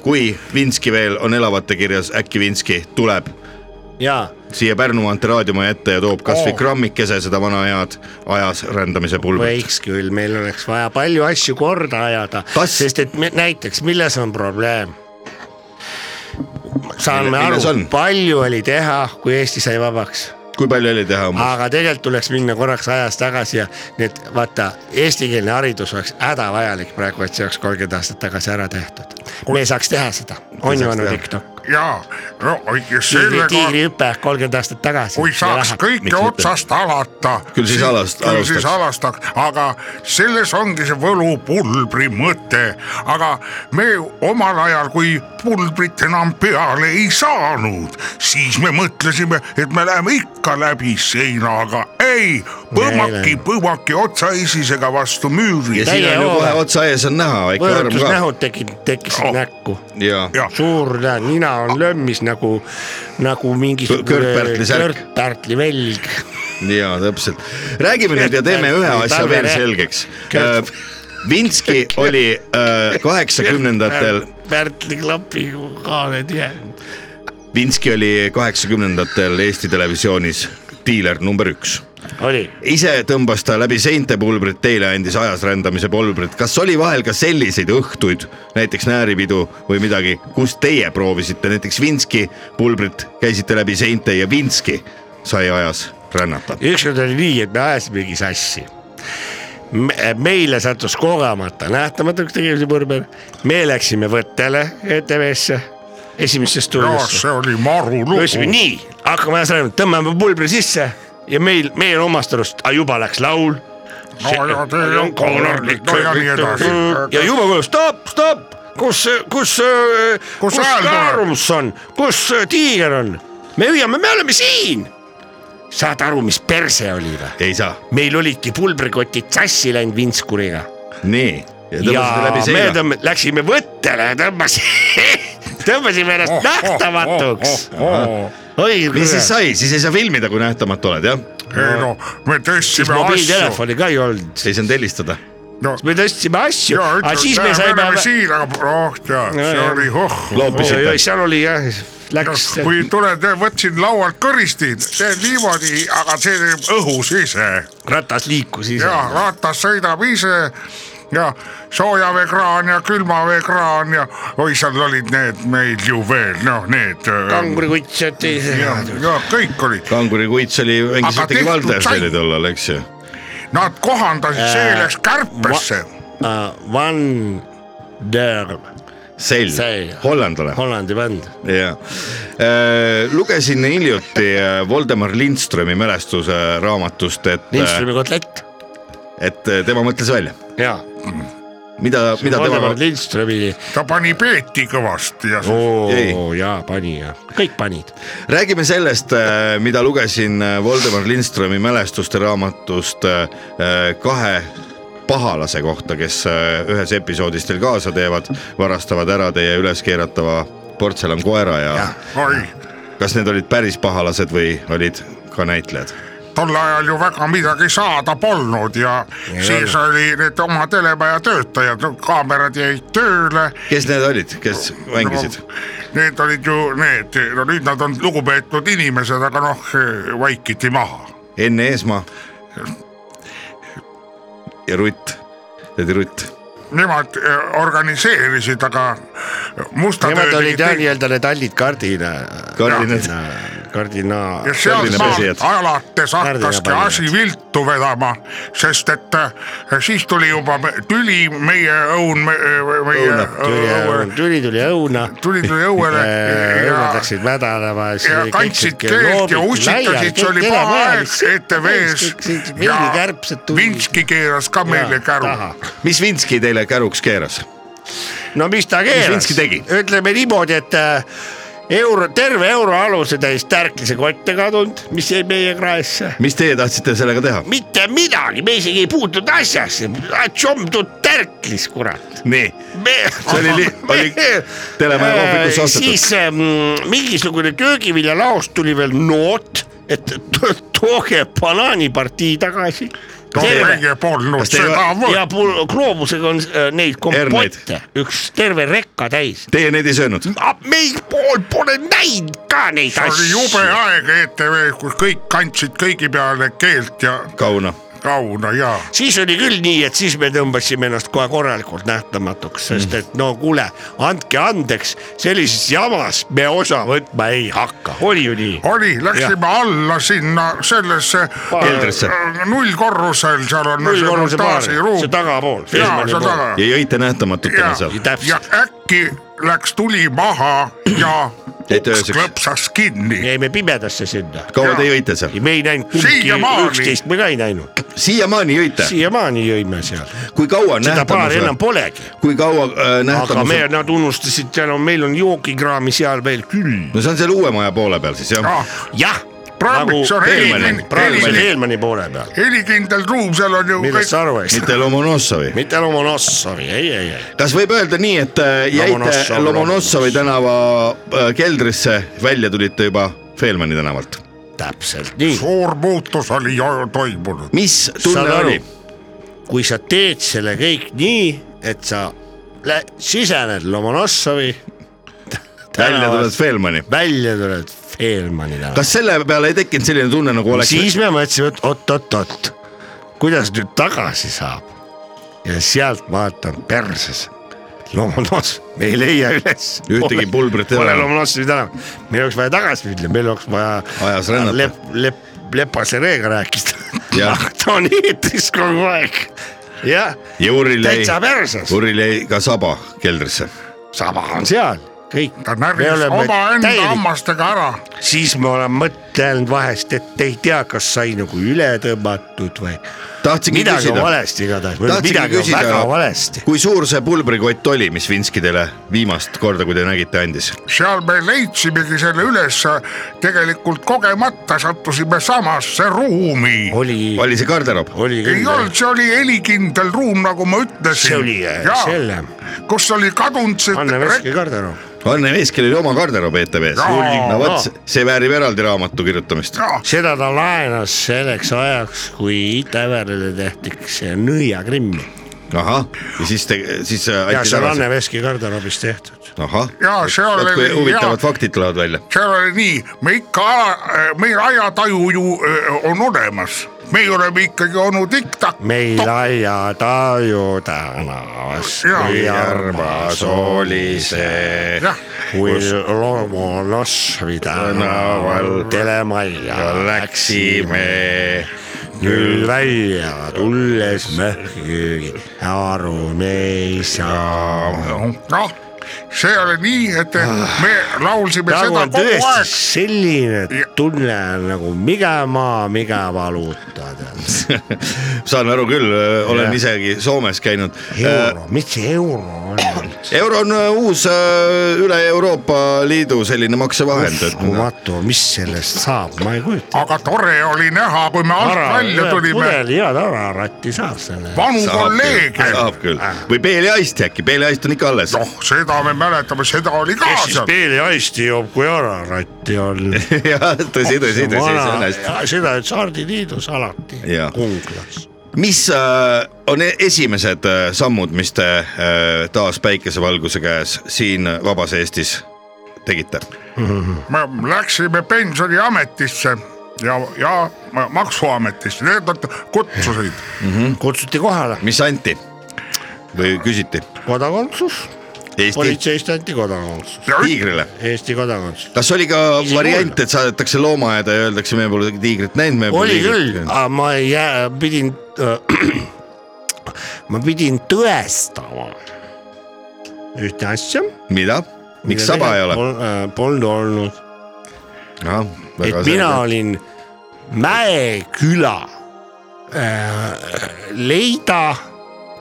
D: kui Vinski veel on elavate kirjas , äkki Vinski tuleb
E: jaa ,
D: siia Pärnumaalt raadiomaja ette ja toob kasvõi
E: Oh.
F: Oo.
D: grammikese seda vana head ajas rändamise pulbrit .
E: võiks küll , meil oleks vaja palju asju korda ajada ,
D: Kas-
E: sest et me, näiteks milles on probleem ? saame
D: Mille- milles
E: aru
D: on? ,
E: palju oli teha , kui Eesti sai vabaks
D: kui palju oli teha umbes ?
E: aga tegelikult tuleks minna korraks ajas tagasi ja need vaata , eestikeelne haridus oleks hädavajalik praegu , et see oleks kolmkümmend aastat tagasi ära tehtud . me saaks teha seda , on ju
D: saaks
E: onu
D: teha.
E: Tikk Tokk ?
F: jaa , no
E: tiigri ,
F: sellega ,
E: tiigrihüpe kolmkümmend aastat tagasi .
F: kui saaks kõike
D: Miks mitte?
F: otsast alata .
D: Küll siis alast-
F: küll siis
D: alustaks.
F: alastaks , aga selles ongi see võlupulbri mõte , aga me omal ajal , kui pulbrit enam peale ei saanud , siis me mõtlesime , et me läheme ikka läbi seina , aga ei , põmmaki ,
E: läinud.
F: põmmaki otsaesisega vastu
D: ja
F: müüri .
D: siin
E: Täie
D: on ju
E: hooga.
D: kohe otsa ees on näha väike arm ka .
E: võõrutusnähud tekid , tekkisid
F: Oh.
E: oh. näkku .
D: ja
F: jah ,
E: suur nä- nina on lömmis nagu , nagu mingisugune
D: Kõrb-Pärtli särk.
E: Kõrb-Pärtli välg .
D: ja täpselt , räägime nüüd ja teeme ühe asja veel selgeks . Vinski oli äh, kaheksakümnendatel ,
E: Pärtli klapiga ka need jäänud .
D: Vinski oli kaheksakümnendatel Eesti Televisioonis diiler number üks
E: oli ,
D: ise tõmbas ta läbi seinte pulbrit , teile andis ajas rändamise pulbrit , kas oli vahel ka selliseid õhtuid , näiteks nääripidu või midagi , kus teie proovisite näiteks Vinski pulbrit , käisite läbi seinte ja Vinski sai ajas rännata ?
E: ükskord oli nii , et me ajasimegi sassi . meile sattus kogemata nähtamatuks tegemise põrmel , me läksime võttele E ETV-sse , esimesse
F: jah ,
E: stuudiosse .
F: see oli
E: me
F: maru lugu .
E: ütlesime nii , hakkame ajas rääkima , tõmbame pulbri sisse ja meil , meie omast arust , juba läks laul .
F: no ja teil on kolorlik no ja nii edasi . Äh,
E: ja juba kuuleb stopp , stopp , kus , kus ,
F: Kus
E: kus
F: hääl tuleb?
E: Kaarmus on , kus äh, tiiger on , me hüüame , me oleme siin . saad aru , mis perse oli või ?
D: ei saa ,
E: meil olidki pulbrikotid sassi läinud vintskuriga
D: nii .
E: ja me
D: Tõmb...
E: tõmb- , läksime võttele ja tõmbasime , tõmbasime ennast oh, nähtamatuks oh, . Oh, oh. oi ,
D: mis siis sai , siis ei saa filmida , kui nähtamatu oled jah ,
F: ei no me
E: siis
F: tõstsime asju .
E: mobiiltelefoni ka ei olnud ,
D: ei saanud helistada .
F: no
E: me tõstsime asju ,
F: ja
E: aga siis me
F: ütleme , me
E: saime
F: oleme , siin , aga oh tead ,
E: No
F: see
E: jah.
F: oli oh .
D: loopisite
E: oi-oi , seal oli jah , läks ,
F: kui tuled , võtsin laualt kõristid , teen niimoodi , aga see teeb õhus ise
E: ratas liikus ise
F: ja . ratas sõidab ise ja soojaveekraan ja külmaveekraan ja oi , seal olid need meil ju veel , noh , need .
E: kangrikuts jäeti
F: ja
E: ise .,
F: ja kõik olid ,
D: kangurirkuits oli , mängis
F: Aga
D: ikkagi
F: tehtud
D: Valter
F: sai.
D: oli tollal , eks ju .
F: nad kohandasid , see läks kärpesse .
E: Van der , Sel.
D: Sell , hollandlane .
E: Hollandi bänd .
D: jah , Äh, lugesin hiljuti äh, Voldemar Lindströmi mälestuse raamatust , et ,
E: Lindströmi kotlett .
D: et äh, tema mõtles välja ,
E: jaa ,
D: mida , mida tema
E: Voldemar , Lindströmi
F: ta pani peeti kõvasti ja
E: oo
D: Ei.
E: jaa , pani ja kõik panid .
D: räägime sellest , mida lugesin äh, Voldemar Lindströmi mälestuste raamatust äh, äh, kahe pahalase kohta , kes äh, ühes episoodis teil kaasa teevad , varastavad ära teie üleskeeratava portselankoera ja, ja.
F: oi ,
D: kas need olid päris pahalased või olid ka näitlejad ?
F: tol ajal ju väga midagi saada polnud ja siis oli need oma telemaja töötajad , no kaamerad jäid tööle .
D: kes need olid , kes mängisid ?
F: Need olid ju need , no nüüd nad on lugupeetud inimesed , aga noh , vaikiti maha .
D: Enn Eesmaa . ja Rutt , tädi Rutt .
F: Nemad eh, organiseerisid , aga musta
E: Nemad
F: töö
E: olid jah
F: tegi-
E: nii-öelda need hallid kardina .
D: kardinad ,
E: kardinaal
F: ja .
D: Kardinapesijad.
F: sealtmaalt alates hakkaski
E: Kardinapaljad.
F: asi viltu vedama , sest et äh, siis tuli juba me- tüli meie õun , meie õue ,
E: tüli tuli õuna .
F: tuli tuli õuele
E: õunad
F: ja
E: läksid mädanema .
F: ja kandsid keelt ja ussitasid , see oli paha aeg ETV-s ja
E: viinikärbsed tulid .
F: Vinski keeras ka meile käru .
D: mis Vinski teile käruks keeras ?
E: no mis ta keeras
D: Vinski tegi? ,
E: ütleme niimoodi , et äh, euro , terve euro alusetäis tärklisekotte kadunud , mis jäi meie kraesse .
D: mis teie tahtsite sellega teha ?
E: mitte midagi , me isegi ei puutunud asjasse , tšomdud tärklis , kurat .
D: nii ,
E: me .
D: see oli li- , oli telemaja kohvikus ostetud .
E: Äh, siis ähm, mingisugune köögiviljalaost tuli veel noot , et to- tooge banaanipartii tagasi . terve
F: meie polnud
D: Kas teil-
F: seda
E: ja
F: võtta .
E: pul- gloobusega on äh,
D: Herneid.
E: neid kompotte , üks terve rekka täis .
D: Teie neid ei söönud ?
E: meil pool pole näinud ka neid
F: see oli
E: asju .
F: jube aeg ETV-s , kus kõik kandsid kõigi peale keelt ja
D: kauna .
F: kauna ja
E: siis oli küll nii , et siis me tõmbasime ennast kohe korralikult nähtamatuks , sest et no kuule , andke andeks , sellises jamas me osa võtma ei hakka , oli ju nii ?
F: oli , läksime alla sinna sellesse
D: Keldrisse.
F: äh, nullkorrusel , seal on
E: nullkorruse baar , see
F: staažiruum
E: tagapool .
F: ja seal taga
D: ja jõite nähtamatutena seal
F: ja ,
E: Täpselt.
F: ja äkki läks tuli maha ja
D: Jäite
F: uks
D: ööseks.
F: klõpsas kinni .
E: jäime pimedasse sinna .
D: kaua te
F: jaa.
D: jõite seal ?
E: me ei näinud kumbki ,
F: Siiamaani.
E: üksteist me ka ei näinud ,
D: siiamaani jõite ?
E: siiamaani jõime seal ,
D: kui kaua
E: seda paari enam
D: nähtamus ,
E: polegi ,
D: kui kaua äh,
E: aga
D: nähtamus
E: me , nad unustasid , seal on , meil on joogikraami seal veel küll .
D: no see on seal uue maja poole peal siis jah ?
E: jah ,
F: Praegu- see on
D: Helmeni-
E: praegu see on
F: Helmeni-
E: Helmani poole peal ,
F: helikindel ruum , seal on ju
E: millest
F: kõik
E: sa aru ei saa .
D: mitte Lomonossovi .
E: mitte Lomonossovi , ei , ei , ei .
D: kas võib öelda nii , et äh, jäite
E: Lomonossov,
D: Lomonossovi tänava äh, keldrisse , välja tulite juba Feelmani tänavalt ?
E: täpselt nii .
F: suur muutus oli jo- toimunud .
D: mis
E: Saad
D: tunne
E: aru?
D: oli ?
E: kui sa teed selle kõik nii , et sa lä- sisened Lomonossovi ,
D: välja
E: Tänavalt.
D: tuled Feelmani .
E: välja tuled Feelmani tänavale .
D: kas selle peale ei tekkinud selline tunne , nagu oleks
E: siis me mõtlesime , et oot-oot-oot , kuidas nüüd tagasi saab . ja sealt vaatan perses , Lomonoss , me ei leia üles .
D: Ühtegi pulbrit ei
E: ole .
D: ole.
E: pole Lomonossovi tänav , meil oleks vaja tagasi minna , meil oleks vaja .
D: Ajas rännata.
E: lep- , lep- , lepasereega rääkida
D: Jah. .
E: ta on eetris kogu aeg , jah
D: ja Urril jäi
E: täitsa , perses ,
D: Urril jäi ka saba keldrisse .
E: sama on seal , kõik .
F: ta närvis omaenda hammastega ära .
E: siis ma olen mõtelnud vahest , et ei tea , kas sai nagu üle tõmmatud või
D: tahtsingi
E: midagi on
D: küsida ,
E: valesti igatahes ,
D: Tahtsingi
E: midagi on
D: küsida-
E: väga valesti .
D: kui suur see pulbrikott oli , mis Vinski teile viimast korda , kui te nägite , andis ?
F: seal me leidsimegi selle üles , tegelikult kogemata sattusime samasse ruumi .
E: oli ,
D: oli see garderoob ?
E: oli
F: ei
E: küll ,
F: olnud , see oli helikindel ruum , nagu ma ütlesin .
E: see oli äh, selle ,
F: kus oli kadunud see
E: Anne Veski garderoob .
D: Anne Veeskel oli oma garderoob ETV-s .
F: Jaa.
D: no vot , see väärib eraldi raamatu kirjutamist .
E: seda ta laenas selleks ajaks , kui Ida-Verele tehti see nõiakrimm
D: ahah , ja siis te , siis äh,
E: ja
D: anti
E: see on Anne
D: tagasi .
E: Veski garderoobis tehtud .
D: ahah ,
F: Jaa, see
D: vot kui
F: oli-
D: huvitavad
F: jaa.
D: faktid tulevad välja .
F: seal oli nii , me ikka , meil ajataju ju äh, on olemas , meie oleme ikkagi onu tiktak .
E: meil aia taju tänavas ,
F: Jaa.
E: kui armas oli see .
F: jah ,
E: kui Lomonossovi tänaval telemajja läksime , küll välja tulles me aru me ei saa .
F: noh , see oli nii , et me laulsime
E: Ah. nagu
F: seda
E: on
F: kogu
E: tõesti
F: aeg .
E: selline
F: Ja-
E: tunne nagu miga maa , miga valuuta .
D: saan aru küll , olen
E: Jah.
D: isegi Soomes käinud .
E: euro , mis see euro on ?
D: euro on äh, uus äh, üle Euroopa Liidu selline maksevahend , et noh,
E: uskumatu , mis sellest saab , ma ei kujuta .
F: aga tore oli näha , kui me alt välja tulime ,
E: pudeli head haravatti saab selle .
F: vanu
D: saab
F: kolleege
D: küll , saab küll või peeliaist äkki , peeliaist on ikka alles .
F: noh , seda me mäletame , seda oli ka
E: kes siis
F: seal .
E: peeliaisti joob , kui haravatti on ?
D: jah , tõsi , tõsi ,
E: Noh,
D: tõsi , see on hästi .
E: seda ütles Hardi Tiidus alati
D: Jaa.
E: kunglas .
D: mis äh, on e- esimesed äh, sammud , mis te äh, taas päikesevalguse käes siin vabas Eestis tegite ?
F: me läksime pensioniametisse ja , ja ma- maksuametisse , need nad kutsusid .
E: kutsuti kohale
D: mis anti või küsiti ?
E: kodakondsus
D: Eesti
E: politseist anti kodakondsus ,
D: tiigrile .
E: Eesti kodakondsus .
D: kas oli ka variant , et saadetakse loomaaeda ja öeldakse , me pole tiigrit näinud , me pole
E: oli küll
D: tiigrit , näinud ?
E: aga ma ei jää , pidin äh, , ma pidin tõestama ühte asja .
D: mida ? miks saba ei ole ?
E: äh, Polnud olnud , et mina olin Mäeküla äh, leida ,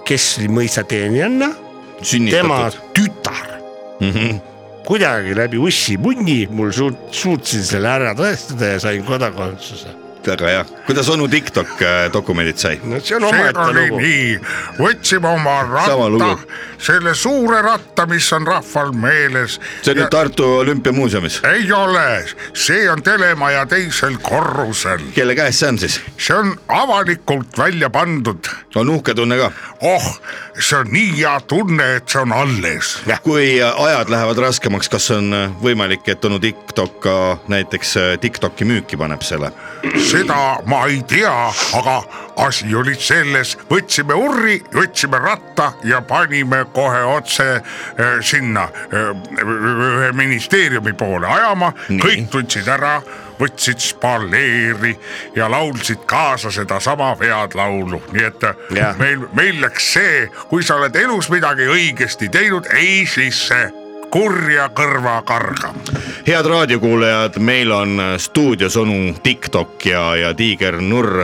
E: kes oli mõisateenijanna tema
D: sünnitatud .
E: tütar mm .
F: Mhm.
E: -hmm. kuidagi läbi ussi-munni mul suut- , suutsin selle ära tõestada ja sain kodakondsuse .
D: väga hea , kuidas onu TikTok äh, dokumendid sai ?
E: no see on
F: see
E: omaette
F: oli
E: lugu .
F: nii , võtsime oma
D: Sama
F: ratta
D: lugu. ,
F: selle suure ratta , mis on rahval meeles .
D: see on nüüd Tartu Olümpiamuuseumis .
F: ei ole , see on telemaja teisel korrusel ,
D: kelle käes see on siis ?
F: see on avalikult välja pandud .
D: on uhke tunne ka .
F: oh , see on nii hea tunne , et see on alles .
D: kui äh, ajad lähevad raskemaks , kas on äh, võimalik , et onu TikTok ka näiteks äh, TikToki müüki paneb selle ?
F: seda ma ei tea , aga asi oli selles , võtsime urri , võtsime ratta ja panime kohe otse eh, sinna eh, ühe ministeeriumi poole ajama , kõik tundsid ära , võtsid spalleeri ja laulsid kaasa sedasama head laulu , nii et ja.
E: Jah.
F: meil , meil läks see , kui sa oled elus midagi õigesti teinud , ei siis see kurja kõrva karga .
D: head raadiokuulajad , meil on äh, stuudios onu TikTok ja , ja Tiiger Nurr ,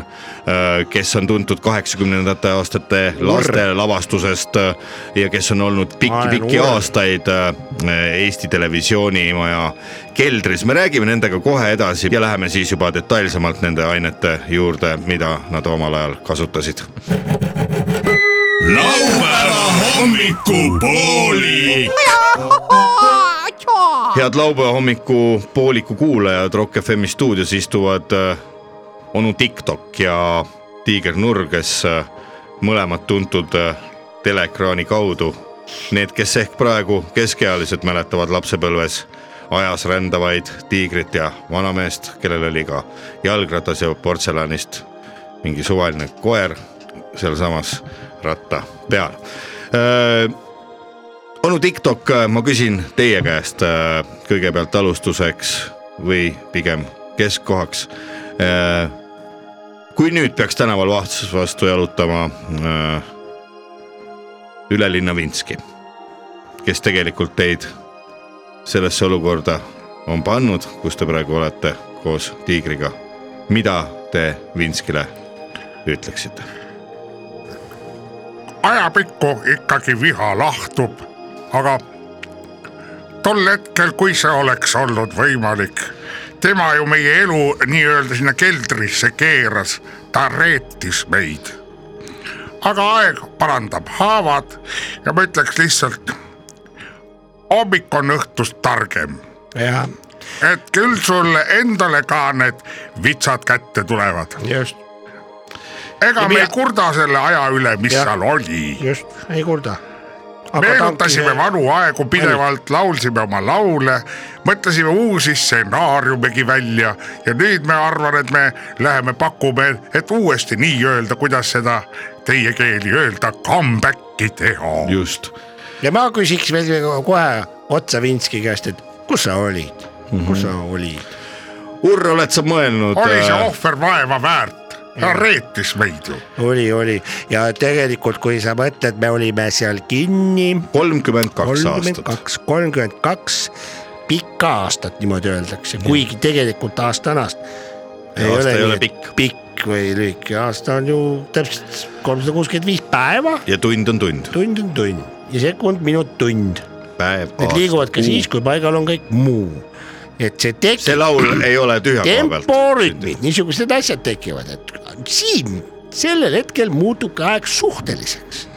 D: kes on tuntud kaheksakümnendate aastate lastelavastusest äh, ja kes on olnud
E: Ma olen
D: pikki-pikki
E: Urr.
D: aastaid äh, Eesti Televisioonimaja keldris . me räägime nendega kohe edasi ja läheme siis juba detailsemalt nende ainete juurde , mida nad omal ajal kasutasid .
A: laupäeva hommikupooli .
D: head laupäeva hommiku pooliku kuulajad , Rock FM'i stuudios istuvad äh, onu TikTok ja Tiiger Nurr , kes äh, mõlemad tuntud äh, teleekraani kaudu . Need , kes ehk praegu keskealised mäletavad lapsepõlves ajas rändavaid tiigrit ja vanameest , kellel oli ka jalgratas ja portselanist mingi suvaline koer sealsamas ratta peal äh, . onu TikTok , ma küsin teie käest äh, kõigepealt alustuseks või pigem keskkohaks äh, . kui nüüd peaks tänaval vahtus vastu jalutama äh, Ülelinna Vinski , kes tegelikult teid sellesse olukorda on pannud , kus te praegu olete koos tiigriga , mida te Vinskile ütleksite ?
F: ajapikku ikkagi viha lahtub , aga tol hetkel , kui see oleks olnud võimalik , tema ju meie elu nii-öelda sinna keldrisse keeras , ta reetis meid . aga aeg parandab haavad ja ma ütleks lihtsalt , hommik on õhtust targem ,
E: jah ,
F: et küll sulle endale ka need vitsad kätte tulevad .
E: just ,
F: ega me
E: mina-
F: ei kurda selle aja üle , mis
E: Jah.
F: seal oli
E: just , ei kurda .
F: meenutasime vanu aegu pidevalt , laulsime oma laule , mõtlesime uusi stsenaariumegi välja ja nüüd me arvan , et me läheme pakume , et uuesti nii-öelda , kuidas seda teie keeli öelda , comeback'i teha .
D: just ,
E: ja ma küsiks veel kohe otsa Vinski käest , et kus sa olid mm , -hmm. kus sa
F: Mhm.
E: olid ?
D: Urr , oled sa mõelnud ? äh,
F: oli see ohver vaeva väärt , ta reetis meid ju .
E: oli , oli ja tegelikult , kui sa mõtled , me olime seal kinni
D: kolmkümmend kaks
E: kolmkümmend
D: aastat .
E: kaks , kolmkümmend kaks pikka aastat niimoodi öeldakse , kuigi tegelikult aasta on aasta .
D: Aasta ei ole pikk.
E: pikk või lühike , aasta on ju täpselt kolmsada kuuskümmend viis päeva ,
D: ja tund on tund .
E: tund on tund ja sekund , minut , tund .
D: päev .
E: Need liiguvad ka siis , kui paigal on kõik muu . et see
D: see
E: tekib
D: laul ei ole tühja koha pealt .
E: temporütmid , niisugused asjad tekivad , et siin sellel hetkel muutubki aeg suhteliseks .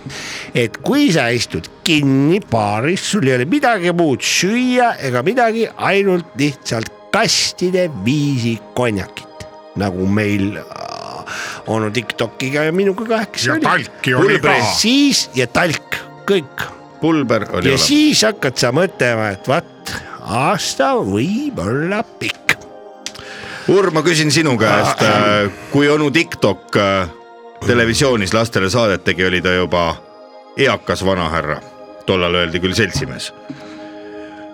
E: et kui sa istud kinni baaris , sul ei ole midagi muud süüa ega midagi , ainult lihtsalt kastide viisi konjakit , nagu meil äh, onu Tiktokiga ja minuga kahekesi
F: ja
E: oli .
F: talki oli ka .
E: siis ja talk , kõik
D: pulber oli
E: ja
D: olemas .
E: siis hakkad sa mõtlema , et vaat aasta võib olla pikk
D: Urr , ma küsin sinu
E: Ah,
D: käest , kui onu TikTok äh, televisioonis lastele saadet tegi , oli ta juba eakas vanahärra . tollal öeldi küll seltsimees .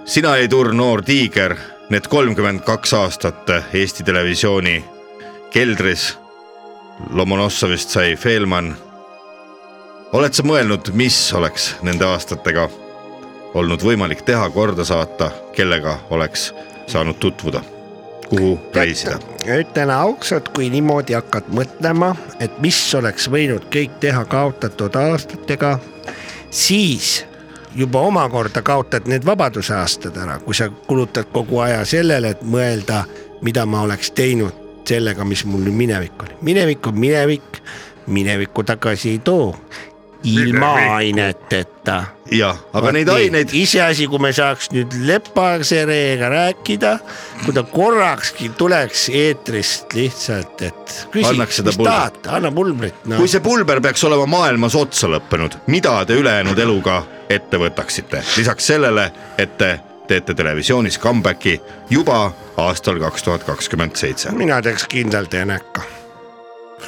D: sina ei turr noor tiiger , need kolmkümmend kaks aastat Eesti Televisiooni keldris . Lomonossovist sai Feelman . oled sa mõelnud , mis oleks nende aastatega olnud võimalik teha , korda saata , kellega oleks saanud tutvuda , kuhu reisida ?
E: ütlen ausalt , kui niimoodi hakkad mõtlema , et mis oleks võinud kõik teha kaotatud aastatega , siis juba omakorda kaotad need vabaduse aastad ära , kui sa kulutad kogu aja sellele , et mõelda , mida ma oleks teinud sellega , mis mul nüüd minevik oli . minevik on minevik , minevikku tagasi ei too , ilma aineteta
D: jah , aga
E: Vaat
D: neid
E: nii.
D: aineid
E: iseasi , kui me saaks nüüd lepasereega rääkida , kui ta korrakski tuleks eetrist lihtsalt , et küsi ,
D: Annaks
E: mis
D: seda pulbrit.
E: tahad , anna pulbrit , no
D: kui see pulber peaks olema maailmas otsa lõppenud , mida te ülejäänud eluga ette võtaksite , lisaks sellele , et te teete televisioonis comeback'i juba aastal kaks tuhat kakskümmend seitse ,
E: mina teeks kindlalt eneka .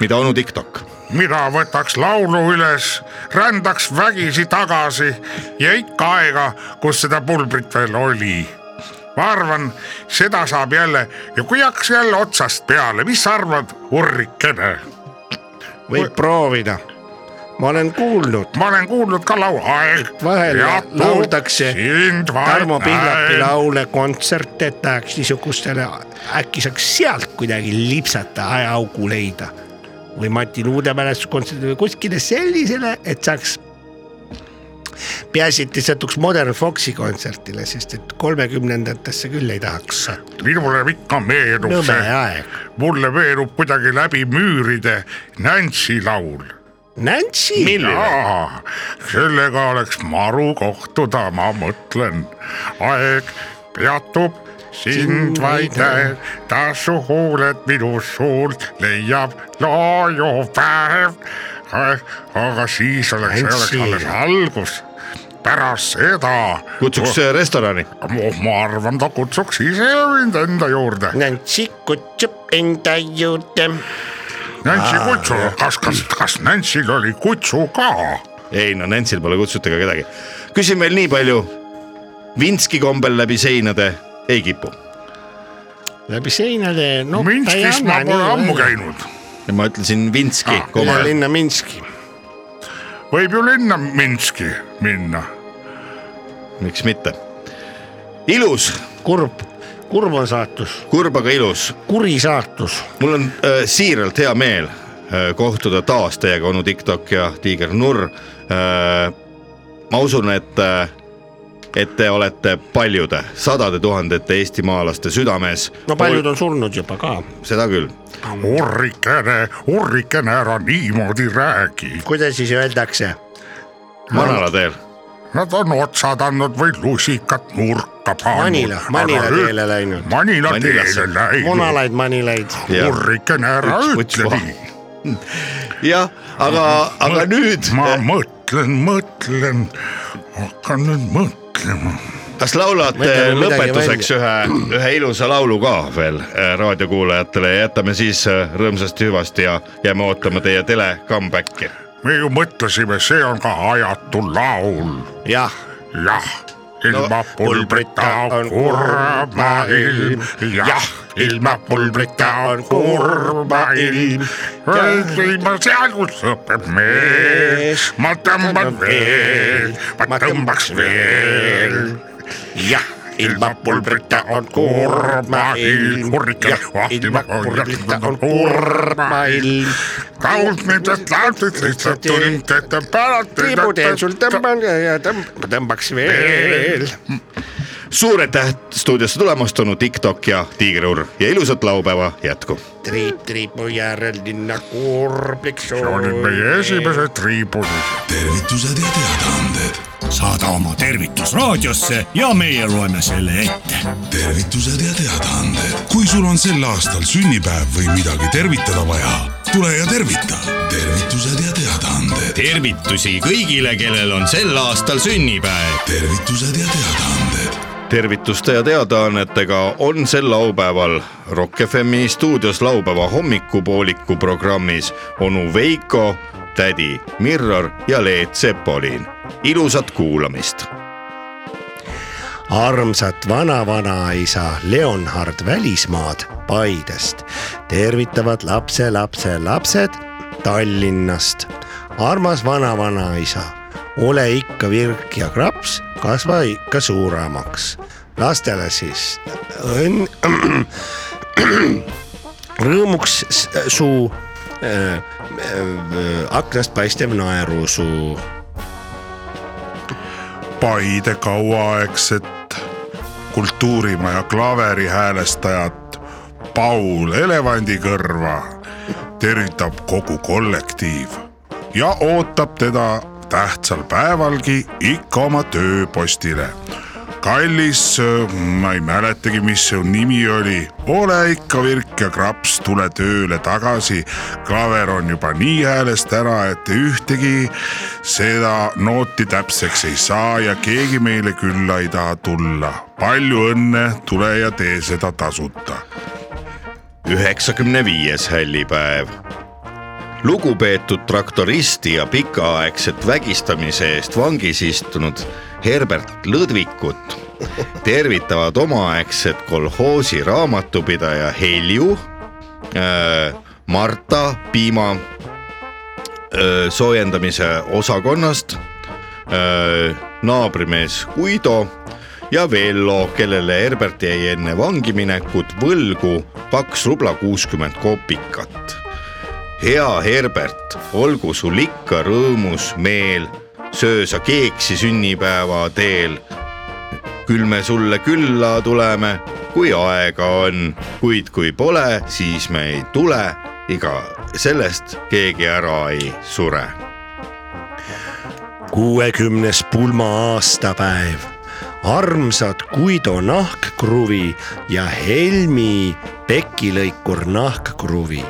D: mida onu TikTok .
F: mina võtaks laulu üles , rändaks vägisi tagasi ja ikka aega , kus seda pulbrit veel oli . ma arvan , seda saab jälle ja kui hakkas jälle otsast peale , mis sa arvad , Urrikene ?
E: võib proovida , ma olen kuulnud ,
F: ma olen kuulnud ka laulu Aeg .
E: vahel lauldakse
F: sind
E: Tarmo Pihlapi
F: laulu .
E: laule kontserte , et tahaks niisugustele , äkki saaks sealt kuidagi lipsata , ajaagu leida . või Mati Luude mälestuskontserdile või kuskile sellisele , et saaks . peaasi , et ei satuks Modern Foxi kontserdile , sest et kolmekümnendatesse küll ei tahaks sattuda ,
F: minule ikka meenub
E: nõme
F: Noh, see ,
E: aeg .
F: mulle meenub kuidagi läbi müüride Nansi laul
E: Nancy ,
F: jaa , sellega oleks maru kohtuda , ma mõtlen . aeg peatub sind vaid näen , ta su huuled minu suult leiab loojupäev . aga siis oleks , see oleks
E: Andsi.
F: alles algus , pärast seda .
D: kutsuks restorani ,
F: ma arvan , ta kutsuks ise mind enda juurde .
E: Nancy kutsub enda juurde .
F: Nansi kutsu , kas , kas , kas Nansil oli kutsu ka ?
D: ei no Nantsil pole kutsutud ega kedagi . küsin veel nii palju , Vinski kombel läbi seinade ei kipu
E: läbi seinade , no ta ei
F: Minskis ma
E: anna
F: pole ammu
E: nii .
F: käinud
D: ja ma ütlesin Vinski
F: Ah,
D: kombel ,
E: linna Minski ,
F: võib ju linna Minski minna .
D: miks mitte . ilus ,
E: kurb , kurb on saatus ,
D: kurb aga ilus ,
E: kuri saatus
D: mul on äh, siiralt hea meel äh, kohtuda taas teiega onu TikTok ja Tiiger Nurr äh, . ma usun , et äh, , et te olete paljude sadade tuhandete eestimaalaste südames .
E: no paljud on surnud juba ka .
D: seda küll ,
F: Urrikene , Urrikene , ära niimoodi räägi .
E: kuidas siis öeldakse ?
D: manala teel ,
F: Nad on otsad andnud või lusikat nurka pannud .
E: Manila , Manila teele läinud ,
F: Manila
D: Manilasse.
F: teele läinud .
E: munalaid , manilaid .
D: Jah.
F: Urrikene , ära
D: Üks võts
F: ütle
D: maha.
F: nii .
D: jah , aga , aga nüüd ,
F: ma mõtlen , mõtlen , hakkan nüüd mõtlema .
D: kas laulate
E: Mõtleme midagi
D: lõpetuseks ühe , ühe ilusa laulu ka veel äh, raadiokuulajatele ja jätame siis äh, rõõmsasti hüvasti ja jääme ootama teie tele comeback'i .
F: me ju mõtlesime , see on ka ajatu laul
E: jah ,
F: jah , ilma pulbrita on kurb maailm , jah , ilma pulbrita on kurb maailm . ilma seal , kus õpib mees , ma tõmban veel , ma tõmbaks veel .
E: jah , ilma pulbrita on kurb maailm , jah , ilma pulbrita on kurb maailm .
F: kaudnendest laulsest lihtsalt tund , et pärast .
E: tiibu teen sul tõmban ja tõmb- , tõmbaks veel .
D: suur aitäh stuudiosse tulemast , onu TikTok ja Tiigrur ja ilusat laupäeva jätku .
E: triip triipu järel linna kurbiks .
F: see olid meie esimesed triibunid .
A: tervitused ja teadaanded ,
G: saada oma tervitus raadiosse ja meie loeme selle ette .
A: tervitused ja teadaanded . kui sul on sel aastal sünnipäev või midagi tervitada vaja , tule ja tervita . tervitused ja teadaanded ,
H: tervitusi kõigile , kellel on sel aastal sünnipäev .
A: tervitused ja teadaanded .
D: tervituste ja teadaannetega on sel laupäeval Rock FM'i stuudios laupäeva hommikupooliku programmis onu Veiko , tädi Mirror ja Leet Sepolin . ilusat kuulamist
E: armsat vanavanaisa Leonhard välismaad Paidest tervitavad lapselapselapsed Tallinnast. armas vanavanaisa, ole ikka virk ja kraps , kasva ikka suuremaks . lastele siis õnn , rõõmuks s- su äh, äh, aknast paistev naerusuu
F: Paide kauaaegset kultuurimaja klaverihäälestajat Paul Elevandikõrva tervitab kogu kollektiiv ja ootab teda tähtsal päevalgi ikka oma tööpostile . kallis , ma ei mäletagi , mis su nimi oli , ole ikka virk ja kraps , tule tööle tagasi . klaver on juba nii häälest ära , et ühtegi seda nooti täpseks ei saa ja keegi meile külla ei taha tulla . palju õnne , tule ja tee seda tasuta
D: üheksakümne viies hällipäev . lugupeetud traktoristi ja pikaaegset vägistamise eest vangis istunud Herbert Lõdvikut tervitavad omaaegset kolhoosi raamatupidaja Helju , Marta Piima öö, soojendamise osakonnast , Äh, naabrimees Guido ja Vello , kellele Herbert jäi enne vangiminekut võlgu kaks rubla kuuskümmend kopikat . hea Herbert , olgu sul ikka rõõmus meel , söö sa keeksi sünnipäeva teel . küll me sulle külla tuleme , kui aega on , kuid kui pole , siis me ei tule , ega sellest keegi ära ei sure .
E: kuuekümnes pulma-aastapäev , armsad Guido nahkkruvi ja Helmi pekilõikur nahkkruvi .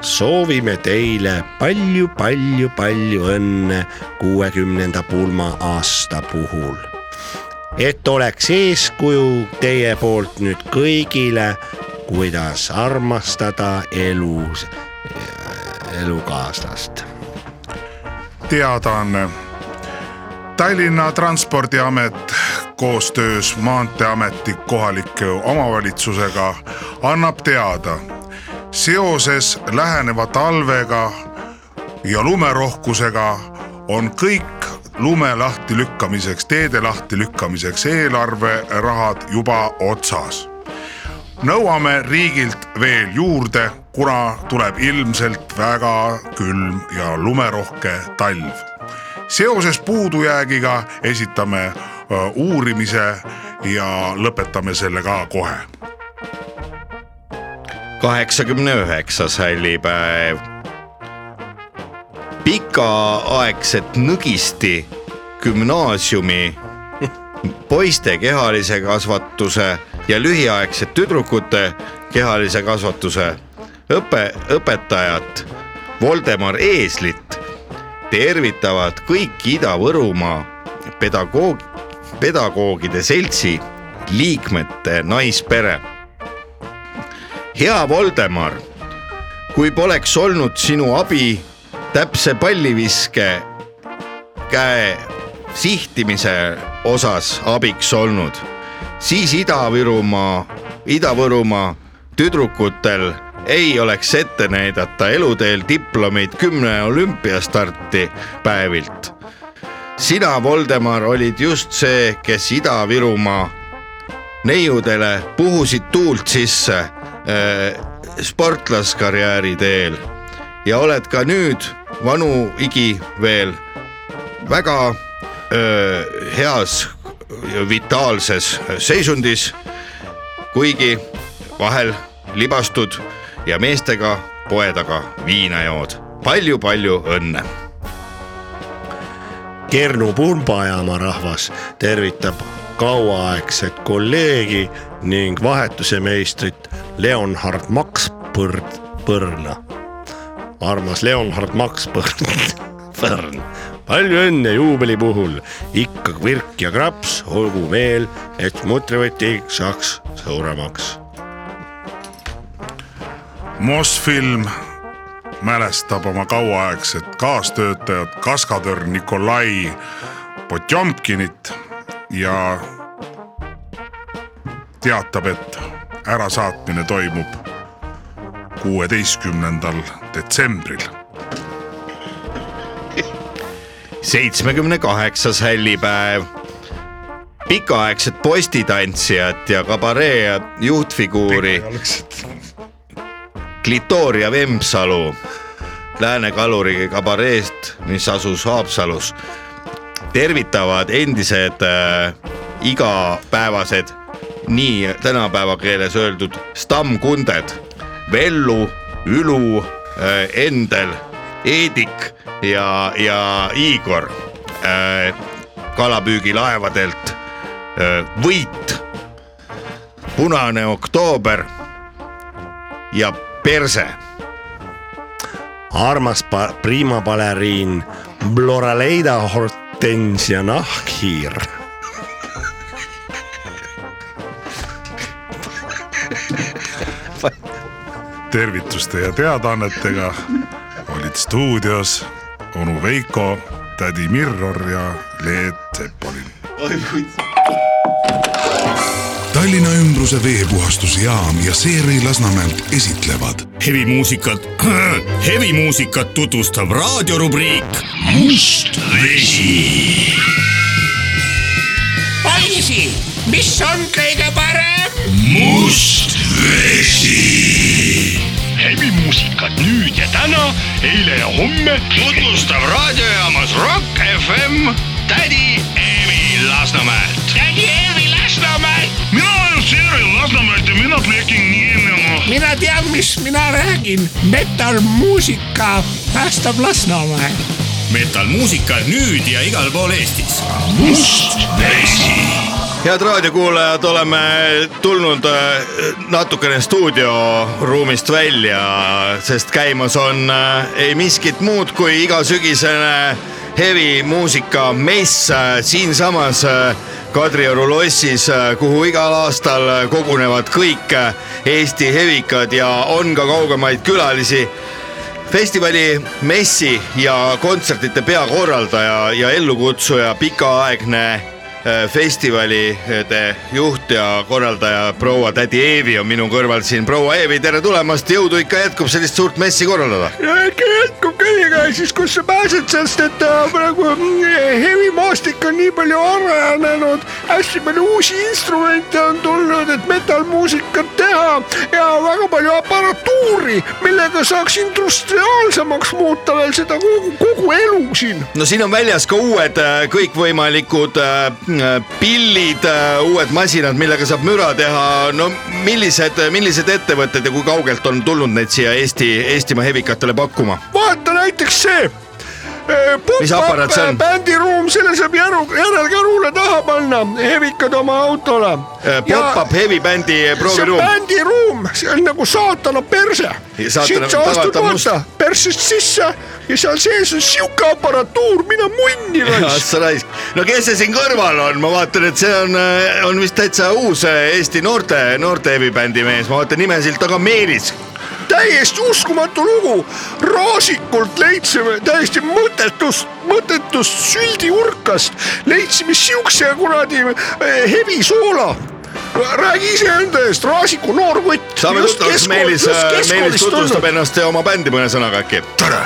E: soovime teile palju-palju-palju õnne kuuekümnenda pulma-aasta puhul . et oleks eeskuju teie poolt nüüd kõigile , kuidas armastada elus , elukaaslast
F: teadaanne . Tallinna Transpordiamet koostöös Maanteeameti kohalike omavalitsusega annab teada seoses läheneva talvega ja lumerohkusega on kõik lume lahtilükkamiseks , teede lahtilükkamiseks eelarverahad juba otsas nõuame riigilt veel juurde , kuna tuleb ilmselt väga külm ja lumerohke talv . seoses puudujäägiga esitame öö, uurimise ja lõpetame selle ka kohe .
D: kaheksakümne üheksas hällipäev . pikaaegset nõgisti gümnaasiumi poiste kehalise kasvatuse ja lühiaegset tüdrukute kehalise kasvatuse õpe , õpetajat Voldemar Eeslit tervitavad kõik Ida-Võrumaa pedagoog , pedagoogide seltsi liikmete naispere hea Voldemar , kui poleks olnud sinu abi täpse palliviske käe sihtimise osas abiks olnud , siis Ida-Virumaa , Ida-Võrumaa tüdrukutel ei oleks ette näidata eluteel diplomeid kümne olümpiastarti päevilt . sina , Voldemar , olid just see , kes Ida-Virumaa neiudele puhusid tuult sisse äh, sportlaskarjääri teel ja oled ka nüüd vanu igi veel väga äh, heas vitaalses seisundis . kuigi vahel libastud ja meestega poe taga viina jood palju, . palju-palju õnne .
E: Kernu pumbajaama rahvas tervitab kauaaegset kolleegi ning vahetuse meistrit Leonhard Max Põrd , Põrna . armas Leonhard Max Põrd , Põrn , palju õnne juubeli puhul , ikka virk ja kraps , olgu meel , et mutrivõti saaks suuremaks .
F: Mosfilm mälestab oma kauaaegset kaastöötajat kaskadör Nikolai Potjomkinit ja teatab , et ärasaatmine toimub kuueteistkümnendal detsembril
D: seitsmekümne kaheksas hällipäev . pikaaegsed postitantsijad ja kabaree juhtfiguuri Glitoria Vempsalu Lääne-Kaluri kabareest , mis asus Haapsalus , tervitavad endised äh, igapäevased , nii tänapäeva keeles öeldud stammkunded Vellu , Ülu äh, , Endel , Eedik ja , ja Igor äh, kalapüügilaevadelt äh, Võit , Punane oktoober ja perse .
E: armas pa- prima baleriin , Bloraleida hortensia nahkhiir .
F: tervituste ja teadaannetega olid stuudios onu Veiko , tädi Mirror ja Leet Sepolin .
I: Tallinna ümbruse veepuhastusjaam ja Seeri Lasnamäelt esitlevad
H: hevimuusikat , hevimuusikat tutvustab raadiorubriik Must vesi .
J: poisi , mis on kõige parem ?
H: must vesi . hevimuusikat nüüd ja täna , eile ja homme tutvustab raadiojaamas Rock FM tädi Eevi Lasnamäelt .
J: tädi Eevi Lasnamäelt ,
G: mina olen Seeri Lasnamäelt ja mina plekin nii enne .
J: mina tean , mis mina räägin , metalmuusika päästab Lasnamäe .
H: metallmuusika nüüd ja igal pool Eestis . must vesi .
D: head raadiokuulajad , oleme tulnud äh, natukene stuudioruumist välja , sest käimas on äh, ei miskit muud kui igasügisene hevi muusikamess äh, siinsamas äh, Kadrioru lossis , kuhu igal aastal äh, kogunevad kõik äh, Eesti hevikad ja on ka kaugemaid külalisi festivali messi ja kontsertide peakorraldaja ja ellukutsuja , pikaaegne eh, festivalide juht ja korraldaja proua tädi Eevi on minu kõrval siin . proua Eevi , tere tulemast , jõudu ikka jätkub sellist suurt messi korraldada .
E: ja äkki jätkub kõigega siis , kus sa pääsed , sest et äh, praegu mm, hevimaastik on nii palju arenenud , hästi palju uusi instrumente on tulnud , et metallmuusikat teha ja väga palju aparatuuri , millega saaks industriaalsemaks muuta veel seda kogu, kogu elu siin .
D: no siin on väljas ka uued eh, kõikvõimalikud eh, pillid , uued masinad , millega saab müra teha . no millised , millised ettevõtted ja kui kaugelt on tulnud neid siia Eesti , Eestimaa hevikatele pakkuma ?
E: vaata näiteks see . äh,
D: Mis aparaat see on?
E: bändiruum , äh, selle saab järu , järelkärule taha panna , hevikad oma autole .
D: Äh, Pop-up hevibändi
E: see on
D: prooviruum .
E: bändiruum , see on nagu saatana perse .
D: Ja saatana-
E: siit sa astud
D: tavata must-
E: vaata persest sisse ja seal sees on sihuke aparatuur , mine munni raisk .
D: sa raisk , no kes see siin kõrval on , ma vaatan , et see on , on vist täitsa uus äh, Eesti noorte , noorte heavibändi mees , ma vaatan nimesilt , aga Meelis .
E: täiesti uskumatu lugu , raasikult leidsime täiesti mõttetust , mõttetust süldiurkast , leidsime siukse kuradi eh, hevisoola räägi iseenda eest , Raasiku noor kutt .
D: saame tuttavaks , Meelis , Meelis tutvustab ennast ja oma bändi mõne sõnaga äkki .
F: tere ,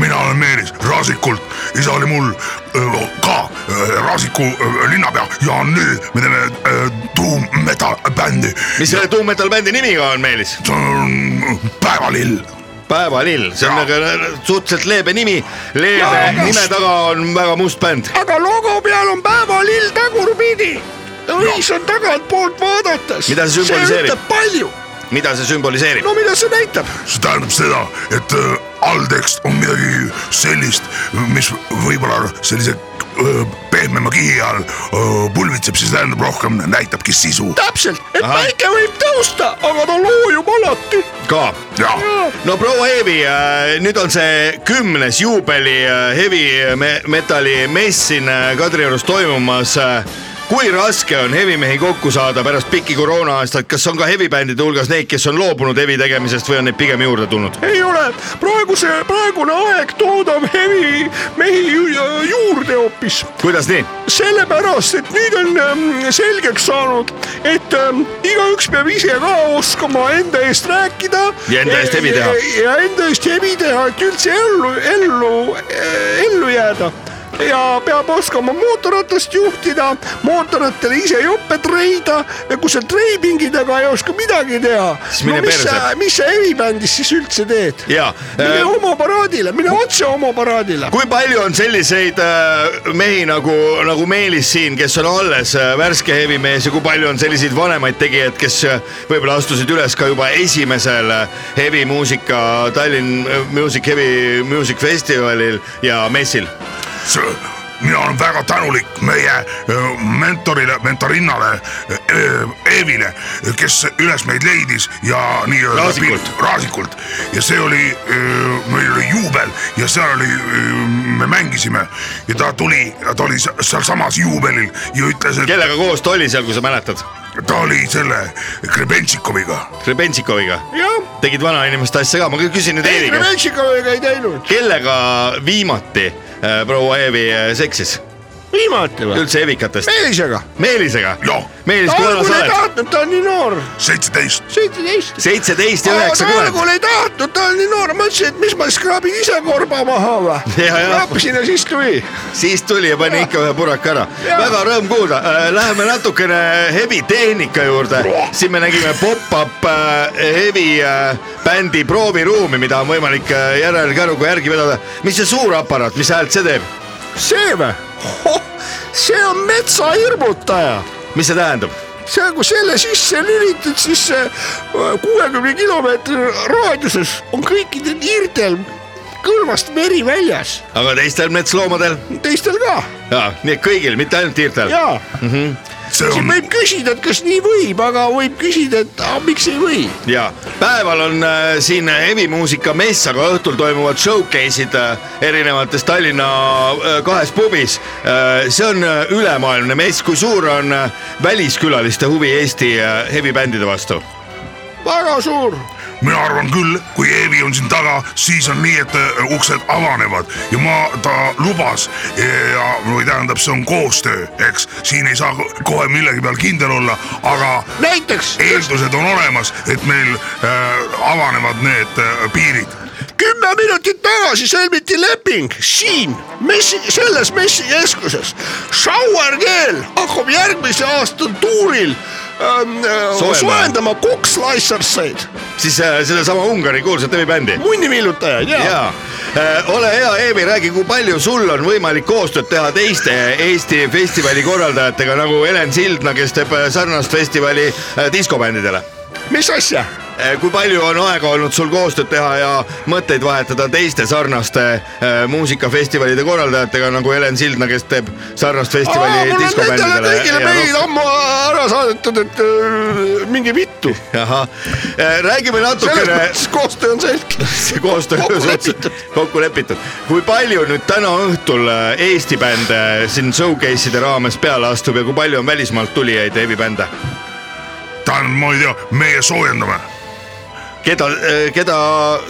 F: mina olen Meelis Raasikult , isa oli mul öö, ka öö, Raasiku öö, linnapea ja nüüd me teeme öö, Doom Metal bändi .
D: mis selle Doom Metal bändi nimiga on , Meelis ?
F: see on päevalill .
D: päevalill , see on
F: Jaa.
D: aga suhteliselt leebe nimi , leebe
E: Jaa,
D: nime
E: must.
D: taga on väga must bänd .
E: aga logo peal on päevalill tagurpidi . õis on tagantpoolt vaadates .
D: Mida see sümboliseerib?
E: see ütleb palju ,
D: mida see sümboliseerib ?
E: no mida see näitab ?
F: see tähendab seda , et öö, alltekst on midagi sellist , mis võib-olla sellise öö, pehmema kihi all öö, pulbitseb , siis tähendab rohkem , näitabki sisu .
E: täpselt , et
D: Ahah.
E: päike võib tõusta , aga ta loojub alati .
D: ka . no proua Eevi , nüüd on see kümnes juubeli äh, heavy me- metal'i mess siin äh, Kadriorus toimumas . kui raske on hevimehi kokku saada pärast pikki koroona aastaid , kas on ka hevibändide hulgas neid , kes on loobunud hevi tegemisest või on neid pigem juurde tulnud ?
E: ei ole , praeguse , praegune aeg toodab hevi mehi ju- juurde hoopis .
D: kuidas nii ?
E: sellepärast , et nüüd on ähm, selgeks saanud , et ähm, igaüks peab ise ka oskama enda eest rääkida .
D: Ja enda eest hevi teha.
E: ja enda eest hevi teha , et üldse ellu , ellu , ellu jääda ja peab oskama mootorratast juhtida , mootorrattale ise jopet reida ja kui sa treibingidega ei oska midagi teha .
D: Siis mine
E: no, mis sa
D: perse. ,
E: mis sa hevibändis siis üldse teed ?
D: jaa
E: mine
D: äh,
E: äh... , homoparaadile , mine otse homoparaadile .
D: kui palju on selliseid äh, mehi nagu , nagu Meelis siin , kes on alles äh, värske hevimees ja kui palju on selliseid vanemaid tegijaid , kes äh, võib-olla astusid üles ka juba esimesel äh, hevimuusika Tallinn äh, Music Heavy Music Festivalil ja messil ?
F: see , mina olen väga tänulik meie öö, mentorile , mentorinnale öö, Eevile , kes üles meid leidis ja nii-öelda
D: Raasikult.
F: pi- raasikult ja see oli , meil oli juubel ja seal oli , me mängisime ja ta tuli , ta oli se- sealsamas juubelil ja ütles , et
D: kellega koos ta oli seal , kui sa mäletad ?
F: ta oli selle Krebentšikoviga .
D: Rebensikoviga ,
E: jah ,
D: tegid vanainimeste asja ka , ma küsin nüüd
E: ei ,
D: Eeriga ,
E: Kremetšikoviga ei teinud .
D: kellega viimati äh, proua Eevi äh, seksis ,
E: viimati või ?
D: üldse evikatest ?
E: Meelisega .
D: Meelisega ?
F: jah ,
D: Meelis ,
E: ta
D: kui vana
E: algul
D: sa
E: ei
D: oled ?
E: tahtnud , ta on nii noor ,
F: seitseteist ,
E: seitseteist .
D: seitseteist ja
E: ta
D: üheksakümmend
E: algul . ei tahtnud , ta on nii noor , ma ütlesin , et mis ma siis kraabin ise korba maha või .
D: Ja, ja.
E: kraapisin ja siis tuli .
D: siis tuli ja pani ikka ühe puraka ära .
E: Jaa.
D: väga rõõm kuulda , läheme natukene hevitehnika juurde , siin me nägime pop-up äh, hevi äh, bändi prooviruumi , mida on võimalik äh, järelkäruga järgi vedada . mis see suur aparaat , mis häält see teeb ,
E: see või ? see on metsahirmutaja
D: mis see tähendab ?
E: see on , kui selle sisse lülitad , siis äh, kuuekümne kilomeetri raadiuses on kõikidel hiirtel kõrvast veri väljas ,
D: aga teistel metsloomadel ?
E: teistel ka
D: jaa , nii et kõigil , mitte ainult hiirtel .
E: ja
F: see
E: Mhm. siin
F: on
E: võib küsida , et kas nii võib , aga võib küsida , et ah, miks ei või
D: ja päeval on äh, siin hevimuusika mess , aga õhtul toimuvad showcase'id äh, erinevates Tallinna äh, kahes pubis äh, . see on äh, ülemaailmne mess , kui suur on äh, väliskülaliste huvi Eesti äh, hevibändide vastu ?
E: väga suur ,
F: mina arvan küll , kui Eevi on siin taga , siis on nii , et äh, uksed avanevad ja ma , ta lubas ja või tähendab , see on koostöö , eks siin ei saa ko- kohe millegi peal kindel olla , aga
E: näiteks
F: eeldused on olemas , et meil äh, avanevad need äh, piirid .
E: kümme minutit tagasi sõlmiti leping siin messi , selles messikeskuses . Shower Girl hakkab järgmise aasta tuuril ähm,
D: Soojendama.
E: äh, soojendama kokslaisserseid ,
D: siis äh, sedasama Ungari kuulsat hevibändi .
E: munnivillutajaid ja, ja. .
D: jaa , ole hea , Eevi , räägi , kui palju sul on võimalik koostööd teha teiste Eesti festivali korraldajatega nagu Helen Sildna , kes teeb äh, sarnast festivali äh, diskobändidele
E: mis asja ?
D: Eh, kui palju on aega olnud sul koostööd teha ja mõtteid vahetada teiste sarnaste äh, muusikafestivalide korraldajatega nagu Helen Sildna , kes teeb sarnast festivali
E: mul on nendele kõigile meilid
D: diskobändidele . noh,
E: ammu ära saadetud , et äh, minge vittu .
D: ahah , Eh, räägime
E: selles
D: natukene
E: mõttes koostöö on selge .
D: see koostöö
E: Kokku
D: kokku
E: lepitud.
D: lepitud , kokku lepitud . kui palju nüüd täna õhtul äh, Eesti bände siin showcase'ide raames peale astub ja kui palju on välismaalt tulijaid heavibände ?
F: tähendab , ma ei tea , meie soojendame .
D: keda , keda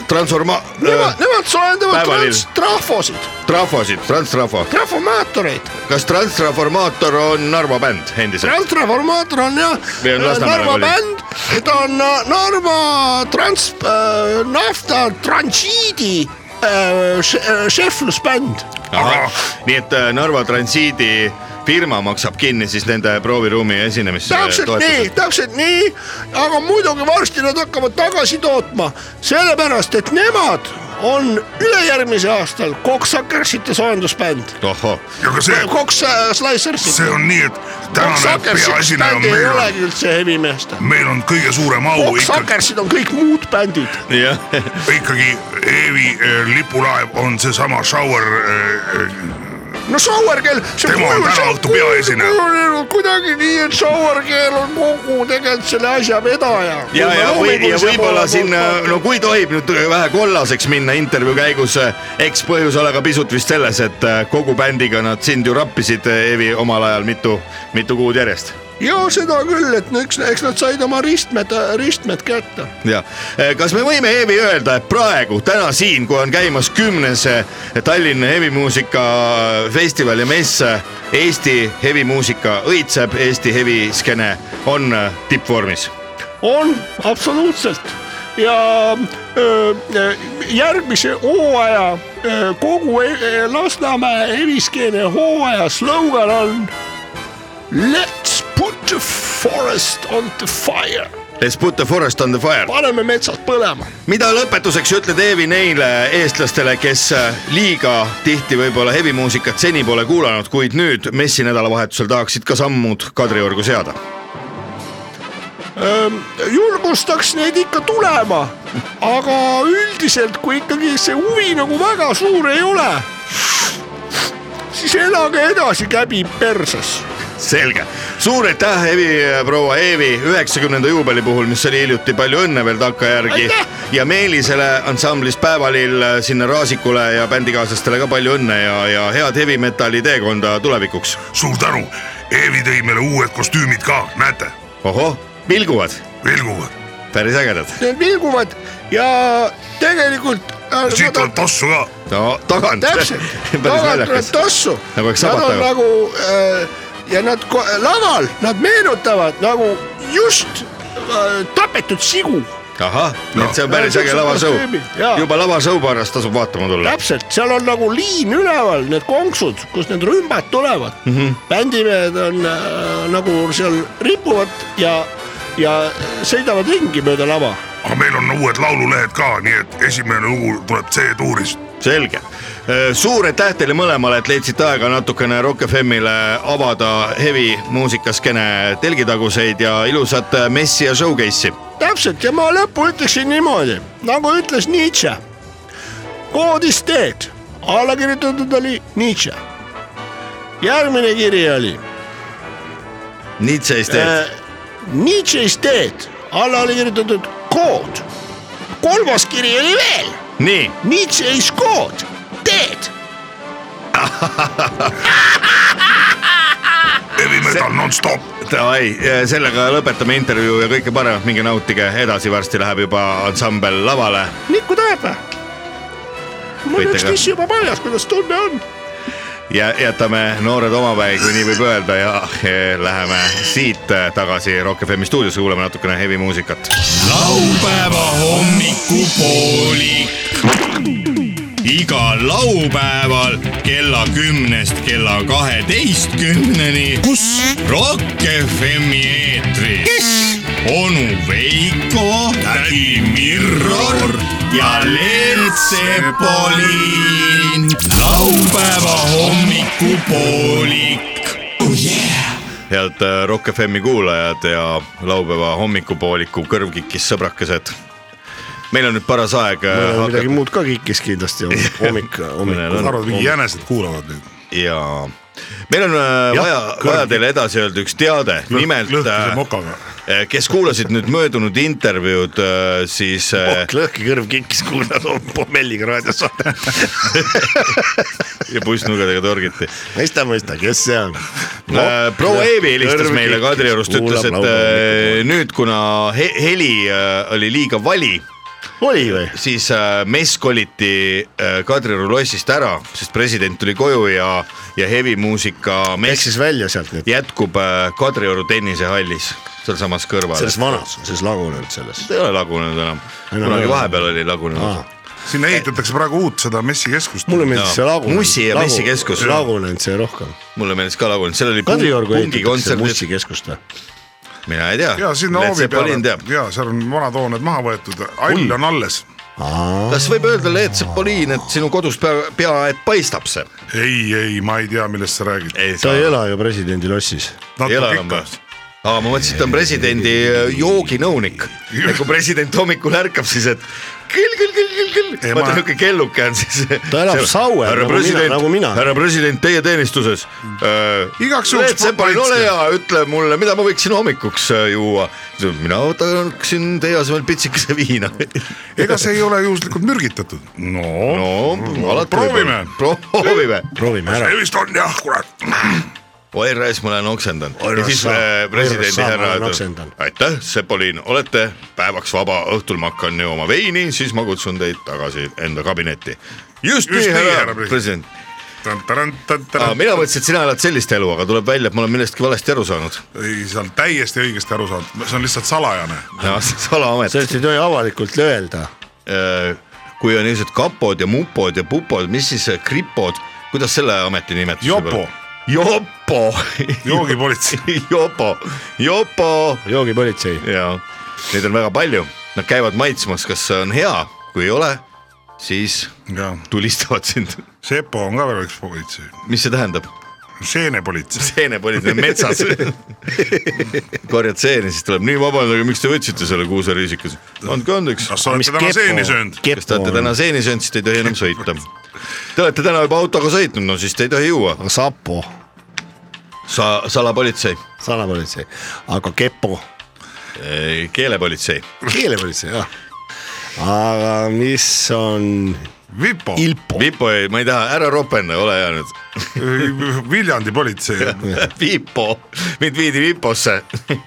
D: transforma- , eh,
E: Nemad , nemad soojendavad
D: päevalill.
E: trans- , trahvosid ,
D: trafosid , transtrafo ,
E: trahvomaatoreid .
D: kas transtraformaator on Narva bänd endiselt ?
E: transreformaator on jah
D: Või on Lasnamäe
E: Narva
D: nagu oli?
E: bänd , ta on äh, Narva trans- , nafta transiidi äh, še- äh, šeflusbänd .
D: Ahah. nii et äh, Narva transiidi firma maksab kinni siis nende prooviruumi esinemisse .
E: täpselt nii , täpselt nii , aga muidugi varsti nad hakkavad tagasi tootma , sellepärast et nemad on ülejärgmise aastal Koksakersite soojendusbänd .
D: ohoh ,
F: ja ka see ,
E: Koks äh, Slicersid .
F: see on nii , et tänane
E: Koksakersid
F: peaesineja on
E: bändi ei
F: meil ,
E: olegi üldse hevimeeste .
F: meil on kõige suurem au ikkagi ,
E: Koksakersid on kõik muud bändid .
D: jah ,
F: ikkagi Eevi äh, lipulaev on seesama Shower äh, äh,
E: no Sauerkell .
F: Tema on täna õhtu peaesineja.
E: kuidagi nii , et Sauerkell on kogu tegelikult selle asja vedaja .
D: ja , ja või , ja võib-olla siin , no kui tohib nüüd äh, vähe kollaseks minna intervjuu käigus , eks põhjus ole ka pisut vist selles , et äh, kogu bändiga nad sind ju rappisid , Evi , omal ajal mitu , mitu kuud järjest
E: ja seda küll , et no eks , eks nad said oma ristmed , ristmed kätte .
D: ja Eh, kas me võime , Eevi , öelda , et praegu täna siin , kui on käimas kümnes eh, Tallinna hevimuusika eh, festival ja mess , Eesti hevimuusika õitseb , Eesti heviskene on eh, tippvormis .
E: on absoluutselt ja öö, öö, järgmise hooaja öö, kogu e- e- Lasnamäe eriskeene hooaja slogan on Let's put the forest on the fire ,
D: Let's put the forest on the fire .
E: paneme metsad põlema .
D: mida lõpetuseks ütled , Eevi , neile eestlastele , kes eh, liiga tihti võib-olla hevimuusikat seni pole kuulanud , kuid nüüd messi nädalavahetusel tahaksid ka sammud Kadriorgu seada ?
E: julgustaks neid ikka tulema , aga üldiselt , kui ikkagi see huvi nagu väga suur ei ole , siis elage edasi käbi perses
D: selge , suur aitäh , Evi , proua Eevi üheksakümnenda juubeli puhul , mis oli hiljuti , palju õnne veel takkajärgi
E: Aitäh! .
D: ja Meelisele ansamblist Päevalill sinna Raasikule ja bändikaaslastele ka palju õnne ja , ja head heavy metal'i teekonda tulevikuks .
F: suur tänu , Eevi tõi meile uued kostüümid ka , näete ,
D: ohoh , vilguvad ,
F: vilguvad .
D: päris ägedad .
E: need vilguvad ja tegelikult .
F: siit tuleb tossu ka ,
D: no tagant .
E: täpselt , tagant tuleb tossu .
D: Nagu oleks
E: Nad on
D: sabataga.
E: nagu äh, ja nad ko- laval , nad meenutavad nagu just äh, tapetud sigu ,
D: ahah , nii et see on
E: No,
D: päris
E: see on
D: äge
E: super
D: lavashow
E: kostüümid, jaa. .
D: juba lavashow pärast tasub vaatama tulla .
E: täpselt , seal on nagu liin üleval , need konksud , kus need rümbad tulevad mm . -hmm. bändimehed on äh, nagu seal ripuvad ja , ja sõidavad ringi mööda lava .
F: aga Ah, meil on uued laululehed ka , nii et esimene lugu tuleb C-tuurist .
D: selge , suur aitäh teile mõlemale , et leidsite aega natukene Rock FM-ile avada hevi muusikaskene telgitaguseid ja ilusat äh, messi ja showcase'i .
E: täpselt ja ma lõppu ütleksin niimoodi , nagu ütles Nietzsche . koodis teed , alla kirjutatud oli Nietzsche . järgmine kiri oli
D: Nietzsche'is teed
E: äh, Nietzsche'is teed , alla oli kirjutatud kood . kolmas kiri oli veel
D: äh. , nii ,
E: Nietzsche'is kood , teed
F: Heavy metal nonstop ,
D: davai , sellega lõpetame intervjuu ja kõike paremat , minge nautige edasi , varsti läheb juba ansambel lavale .
E: Mikku teab või ? mul
D: Võite
E: üks
D: ka. Äh,
E: kiss juba paljas , kuidas tunne on ?
D: ja jätame noored omapäi , kui nii võib öelda ja eh, läheme siit eh, tagasi Rock FM-i stuudiosse , kuulame natukene hevi muusikat .
A: laupäeva hommikupoolik . igal laupäeval kella kümnest kella kaheteistkümneni . kus ? Rock FM-i eetris . onu Veiko , tädi Mirror ja Leelt Sepolin . laupäeva hommikupoolik .
D: head äh, Rock FM-i kuulajad ja laupäeva hommikupooliku kõrvkikis sõbrakesed . meil on nüüd paras aeg äh,
E: midagi
D: hakata
E: muud ka kikkis kindlasti hommik , hommik .
D: Mõnel on.
F: arvad , mingi jänesed kuulavad nüüd ?
D: ja meil on äh,
F: Jah,
D: vaja ,
F: kõrvkikk.
D: vaja teile edasi öelda üks teade , nimelt
F: lõhkise
D: äh,
F: mokaga .
D: kes kuulasid nüüd möödunud intervjuud , siis äh,
E: lõhki kõrv kikkis , kui nad on pommelliga raadios on .
D: ja pussnugadega torgiti .
E: mõista , mõista , kes see on ?
D: Äh, proua Eevi helistas meile Kadriorust , ütles , et äh, nüüd , kuna he- heli äh, oli liiga vali ,
E: oli või ?
D: siis äh, mess koliti äh, Kadrioru lossist ära , sest president tuli koju ja , ja hevimuusika
E: ehk
D: mess
E: siis välja sealt nüüd ,
D: jätkub äh, Kadrioru tennisehallis , sealsamas kõrval .
E: selles vanas , selles lagunenud selles .
D: ei ole lagunenud enam ,
E: Enam ei
D: kunagi
E: ole.
D: vahepeal oli lagunenud
E: Aa.
D: ah. .
F: sinna ehitatakse praegu uut seda messikeskust .
E: mulle
D: Jaa.
E: meeldis see lagunenud .
D: Mussi ja Messi keskus.
E: lagunenud see rohkem .
D: mulle meeldis ka lagunenud , seal oli
E: Kadriorgu
D: pungi
E: ehitatakse
D: kontsert ,
E: Mussi keskust või ?
D: mina ei tea .
F: ja sinna hoovi peale
D: teab ,.
F: ja seal on vanad hooned maha võetud , all on alles .
D: kas võib öelda , Leet Sepolin , et sinu kodus pea , pea , et paistab see ?
F: ei , ei , ma ei tea , millest sa räägid .
D: ei
E: ta ei ela ju presidendi lossis .
D: ei ela enam või ? aa , ma mõtlesin , et ta on presidendi äh, jooginõunik . et kui president hommikul ärkab , siis et küll , küll , küll , küll , küll . vaata niuke kelluke on siis .
E: Ta elab sauel,
D: härra
E: nagu mina-
D: president
E: nagu mina. ,
D: härra president , teie teenistuses äh, .
F: Igaks juhuks
D: Leet Sepolin ,
F: ma
D: ole
F: panin-
D: hea , ütle mulle , mida ma võiksin hommikuks äh, juua . mina tahaksin teie asemel pitsikese viina .
F: ega see ei ole juhuslikult mürgitatud . no,
D: no alati .
F: Proovime. .
D: proovime .
E: proovime ära
F: see . vist on jah , kurat .
D: oi raisk , ma olen oksendanud .
E: Oi,
D: ja siis
E: raisk,
D: äh,
E: oi, raisk,
D: presidendi
E: ma
D: härra
E: olen
D: ütleb
E: oksendanud. ,
D: aitäh , Sepolin , olete päevaks vaba , õhtul ma hakkan jooma veini , siis ma kutsun teid tagasi enda kabinetti . just nii , härra president . Ah, mina mõtlesin , et sina elad sellist elu , aga tuleb välja , et ma olen millestki valesti aru saanud .
F: ei , sa oled täiesti õigesti aru saanud , see on lihtsalt salajane .
D: salaamet .
E: sellest ei tohi avalikult öelda .
D: Äh, kui on niisugused kapod ja mupod ja pupod , mis siis äh, kripod , kuidas selle ameti nimetus ?
F: Jopo. .
D: Jopo .
F: joogipolitsei .
D: Jopo , Jopo
E: joogipolitsei .
D: ja neid on väga palju , nad käivad maitsmas , kas see on hea , kui ei ole , siis
F: jah ,
D: tulistavad sind .
F: Sepo on ka veel üks politsei ,
D: mis see tähendab ?
F: seenepolitsei .
D: seenepolitsei metsas . korjad seeni , siis tuleb nii vabandage , miks te võtsite selle kuuseriisikas . andke andeks .
F: kas sa oled
E: mis
F: täna
E: kepo-
F: seeni söönud ?
D: kas te olete täna seeni söönud , siis te ei tohi enam sõita . Te olete täna juba autoga sõitnud , no siis te ei tohi juua .
E: aga sapo ,
D: sa , salapolitsei ,
E: salapolitsei , aga kepo ,
D: keelepolitsei ,
E: keelepolitsei jah . aga mis on
F: Vipo ,
E: Ilpo ?
D: Vipo ei , ma ei taha , ära ropenda , ole hea nüüd
F: Äh, Viljandi politsei .
D: Vipo , mind viidi Viposse .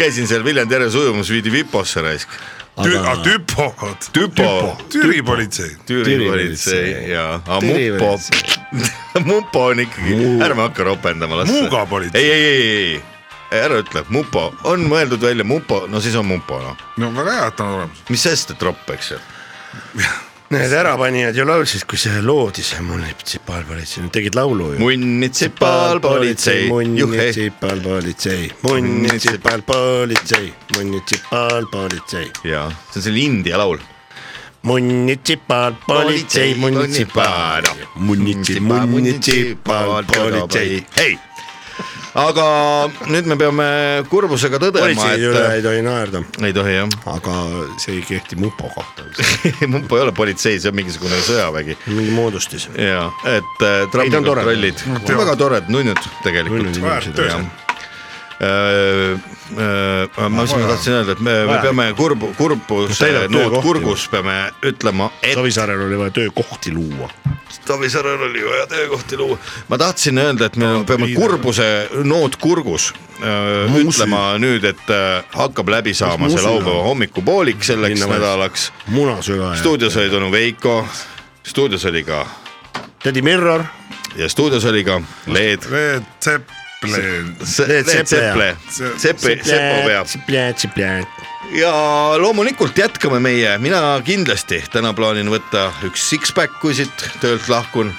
D: käisin seal Viljandi järves ujumas , viidi Viposse raisk .
F: aga tüpo ,
D: Tüpo ,
F: Türi politsei .
D: Türi
E: Türi
D: politsei
E: politsei.
D: ja , aga
E: Türi
D: Mupo , Mupo on ikkagi , ärme hakka ropendama , las .
F: Muuga politsei.
D: ei , ei , ei , ei , ära ütle , Mupo , on mõeldud välja Mupo , no siis on Mupo noh ,
F: no väga hea , et on olemas .
D: mis sest , et ropp , eks ju .
E: Need ärapanijad ju laulsid , kui see loodi , see munitsipaalpolitsei , nad tegid laulu ju .
D: munitsipaalpolitsei , juhe ,
E: munitsipaalpolitsei , munitsipaalpolitsei , munitsipaalpolitsei ,
D: ja see on selline India laul .
E: munitsipaalpolitsei , munitsipaal , munitsi- , munitsipaalpolitsei .
D: ei , aga nüüd me peame kurbusega tõdema ,
E: politsei üle ei
D: et äh,
E: tohi naerda ,
D: ei tohi jah ,
E: aga see ei kehti mupo kohta ,
D: Mupo ei ole politsei , see on mingisugune sõjavägi
E: mingi moodustis .
D: ja et äh,
E: Ei, ta on tore.
D: trammikontrollid on väga toredad nunnud
E: Nunnud
D: tegelikult .
E: inimesed,
D: jah . äh, ma just
F: Vaja.
D: tahtsin öelda , et me, me
E: Vaja.
D: peame kurbu , kurbuse
E: Täidab
D: noot
E: töökohti.
D: kurgus peame ütlema , et
E: Savisaarel oli vaja töökohti luua .
D: Tavisaarel oli vaja töökohti luua . ma tahtsin öelda , et me peame kurbuse noot kurgus öö, ütlema nüüd , et öö, hakkab läbi saama see
E: muusina?
D: laupäeva hommikupoolik selleks
E: Linnavalitsus.
D: nädalaks .
E: munasüga ja
D: stuudios oli tänu Veiko , stuudios oli ka
E: tädi Mirror ,
D: ja stuudios oli ka Leed .
F: Red Zeppelin .
E: Leed Seple.
D: Seple , Sepe , Sepo pea ja loomulikult jätkame meie , mina kindlasti täna plaanin võtta üks six-pack , kui siit töölt lahkun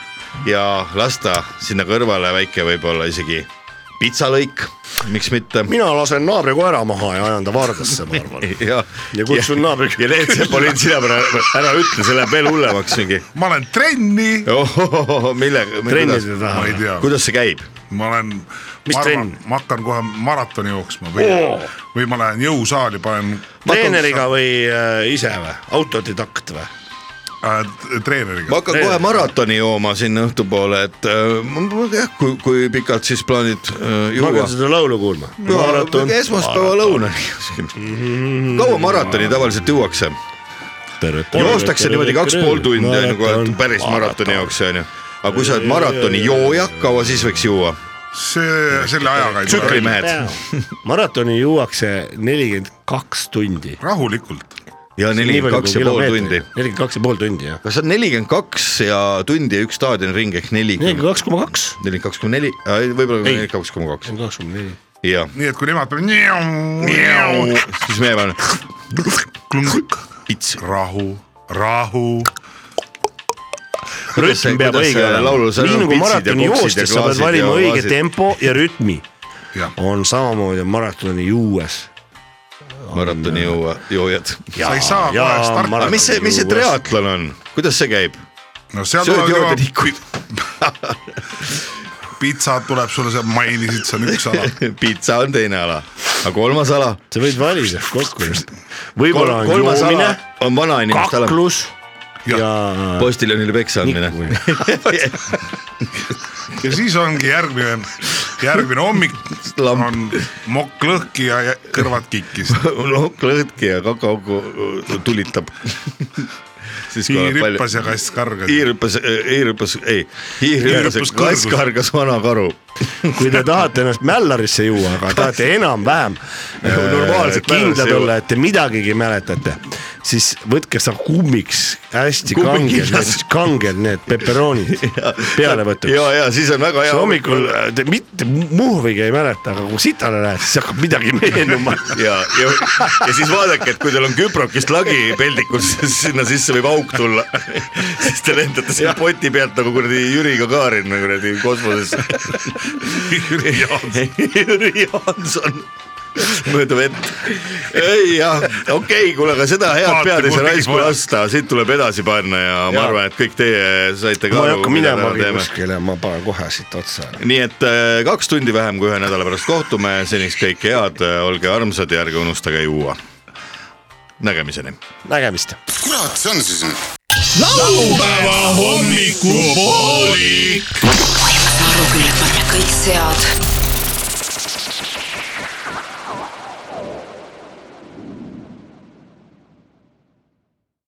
D: ja lasta sinna kõrvale väike võib-olla isegi pitsalõik , miks mitte .
E: mina lasen naabri koera maha ja ajan ta vardasse , ma arvan .
D: ja,
E: ja kutsun naabri .
D: ja Leet Sepolin , sina ära, ära ütle , see läheb veel hullemaks mingi .
F: ma olen trenni ,
D: millega ,
E: trennide taha
F: ma ei . tea ,
D: kuidas see käib ?
F: ma olen ,
E: Mis
F: ma
E: trenn? Oh!
F: arvan , ma hakkan kohe maratoni jooksma või , või ma lähen jõusaali , panen
E: treeneriga või äh, ise või , autodidakt või ?
F: äh, treeneriga
D: ma . hakkan kohe maratoni jooma siin õhtupoole , et äh, ma- ma- jah , kui , kui pikalt siis plaanid äh,
E: ma
D: juua
E: hakkan ? seda laulu kuulma .
D: maraton . esmaspäeva lõuna .
E: Mhm.
D: kaua maratoni tavaliselt juuakse ? joostakse niimoodi kaks pool tundi , on ju , kui oled päris maratoni jaoks , on ju . aga kui sa oled maratoni jooja , kaua siis võiks juua ?
F: see , selle ajaga ei tule
D: tsüklimehed
E: maratoni juuakse nelikümmend kaks tundi .
F: rahulikult .
D: ja nelikümmend kaks ja pool tundi .
E: nelikümmend kaks ja pool tundi jah .
D: kas see on nelikümmend kaks ja tundi ja üks staadioniring ehk nelikümmend ,
E: nelikümmend kaks koma kaks .
D: nelikümmend kaks koma neli , võib-olla nelikümmend kaks koma kaks ,
E: nelikümmend kaks koma neli .
D: jah .
F: nii et kui nemad peavad .
D: siis me peame ,
F: pits . rahu , rahu .
D: Kuidas see-
E: rütm peab
D: kuidas
E: õige
D: see laulul
E: olema .
D: seal
E: nii
D: on
E: nagu
D: pitsid ja koksid ja
E: maratoni joostes sa pead
D: klaasid
E: valima
D: ja
E: õige
D: klaasid.
E: tempo ja rütmi .
F: jah ,
E: on samamoodi on maratoni juues
D: maratoni juua , joojad .
F: sa ei saa
E: jaa,
F: kohe
E: maratoni-
F: starti .
D: mis see , mis see triatlon on , kuidas see käib ?
F: no seal
D: sööd
F: tuleb juba ,
D: joodetikku .
K: pitsad tuleb sulle , sa mainisid , see on üks ala .
D: pitsa on teine ala , aga kolmas ala .
E: sa võid valida kokku .
D: võib-olla
E: on
D: kolmas
E: joomine,
D: ala on vanainimeste ala .
E: kaklus ja
D: postiljonile peksa andmine .
K: ja siis ongi järgmine , järgmine hommik on mokk lõhki ja jä- kõrvad kikkis .
D: nokk lõhki ja kakauku tulitab . siis kui
K: hiir
D: on palju-
K: hüppas ja kass kargas .
D: hiir hüppas , hiir hüppas , ei , hiir hüppas ,
K: hüppas
D: kass
K: kõrgus.
D: kargas vana karu .
E: kui te tahate ennast mällarisse juua , aga tahate enam-vähem
D: Nagu normaalselt
E: äh, kindlad
D: mällarisse
E: olla , et te midagigi mäletate , siis võtke seda kummiks hästi
D: Kummikinas.
E: kangelt , kangelt need peperoonid pealevõtuks .
D: ja , ja siis on väga hea .
E: hommikul äh, te mitte muhvigi ei mäleta , aga kui sitale lähed , siis hakkab midagi meenuma .
D: ja , ja , ja siis vaadake , et kui teil on küprokist lagi peldikul , siis sinna sisse võib auk tulla . siis te lendate selle poti pealt nagu kuradi Jüriga Kaarin nagu kuradi kosmoses . Jüri Jaanson mööda vett . ei jah , okei okay, , kuule , aga seda head
K: Vaata,
D: pead ei saa
K: kuhu
D: raisku
K: tegi
D: lasta , siit tuleb edasi panna ja, ja. ma
E: Jaa.
D: arvan , et kõik teie saite ka
E: ma ei hakka
D: mida
E: minema
D: täna teeme.
E: kuskile , ma panen kohe siit otsa .
D: nii et äh, kaks tundi vähem kui ühe nädala pärast kohtume , seniks kõike head , olge armsad ja ärge unustage juua . nägemiseni .
E: nägemist .
F: kurat , see on siis nüüd ?
H: laupäeva hommikupoolik .
B: Naruküljed võtta kõik sead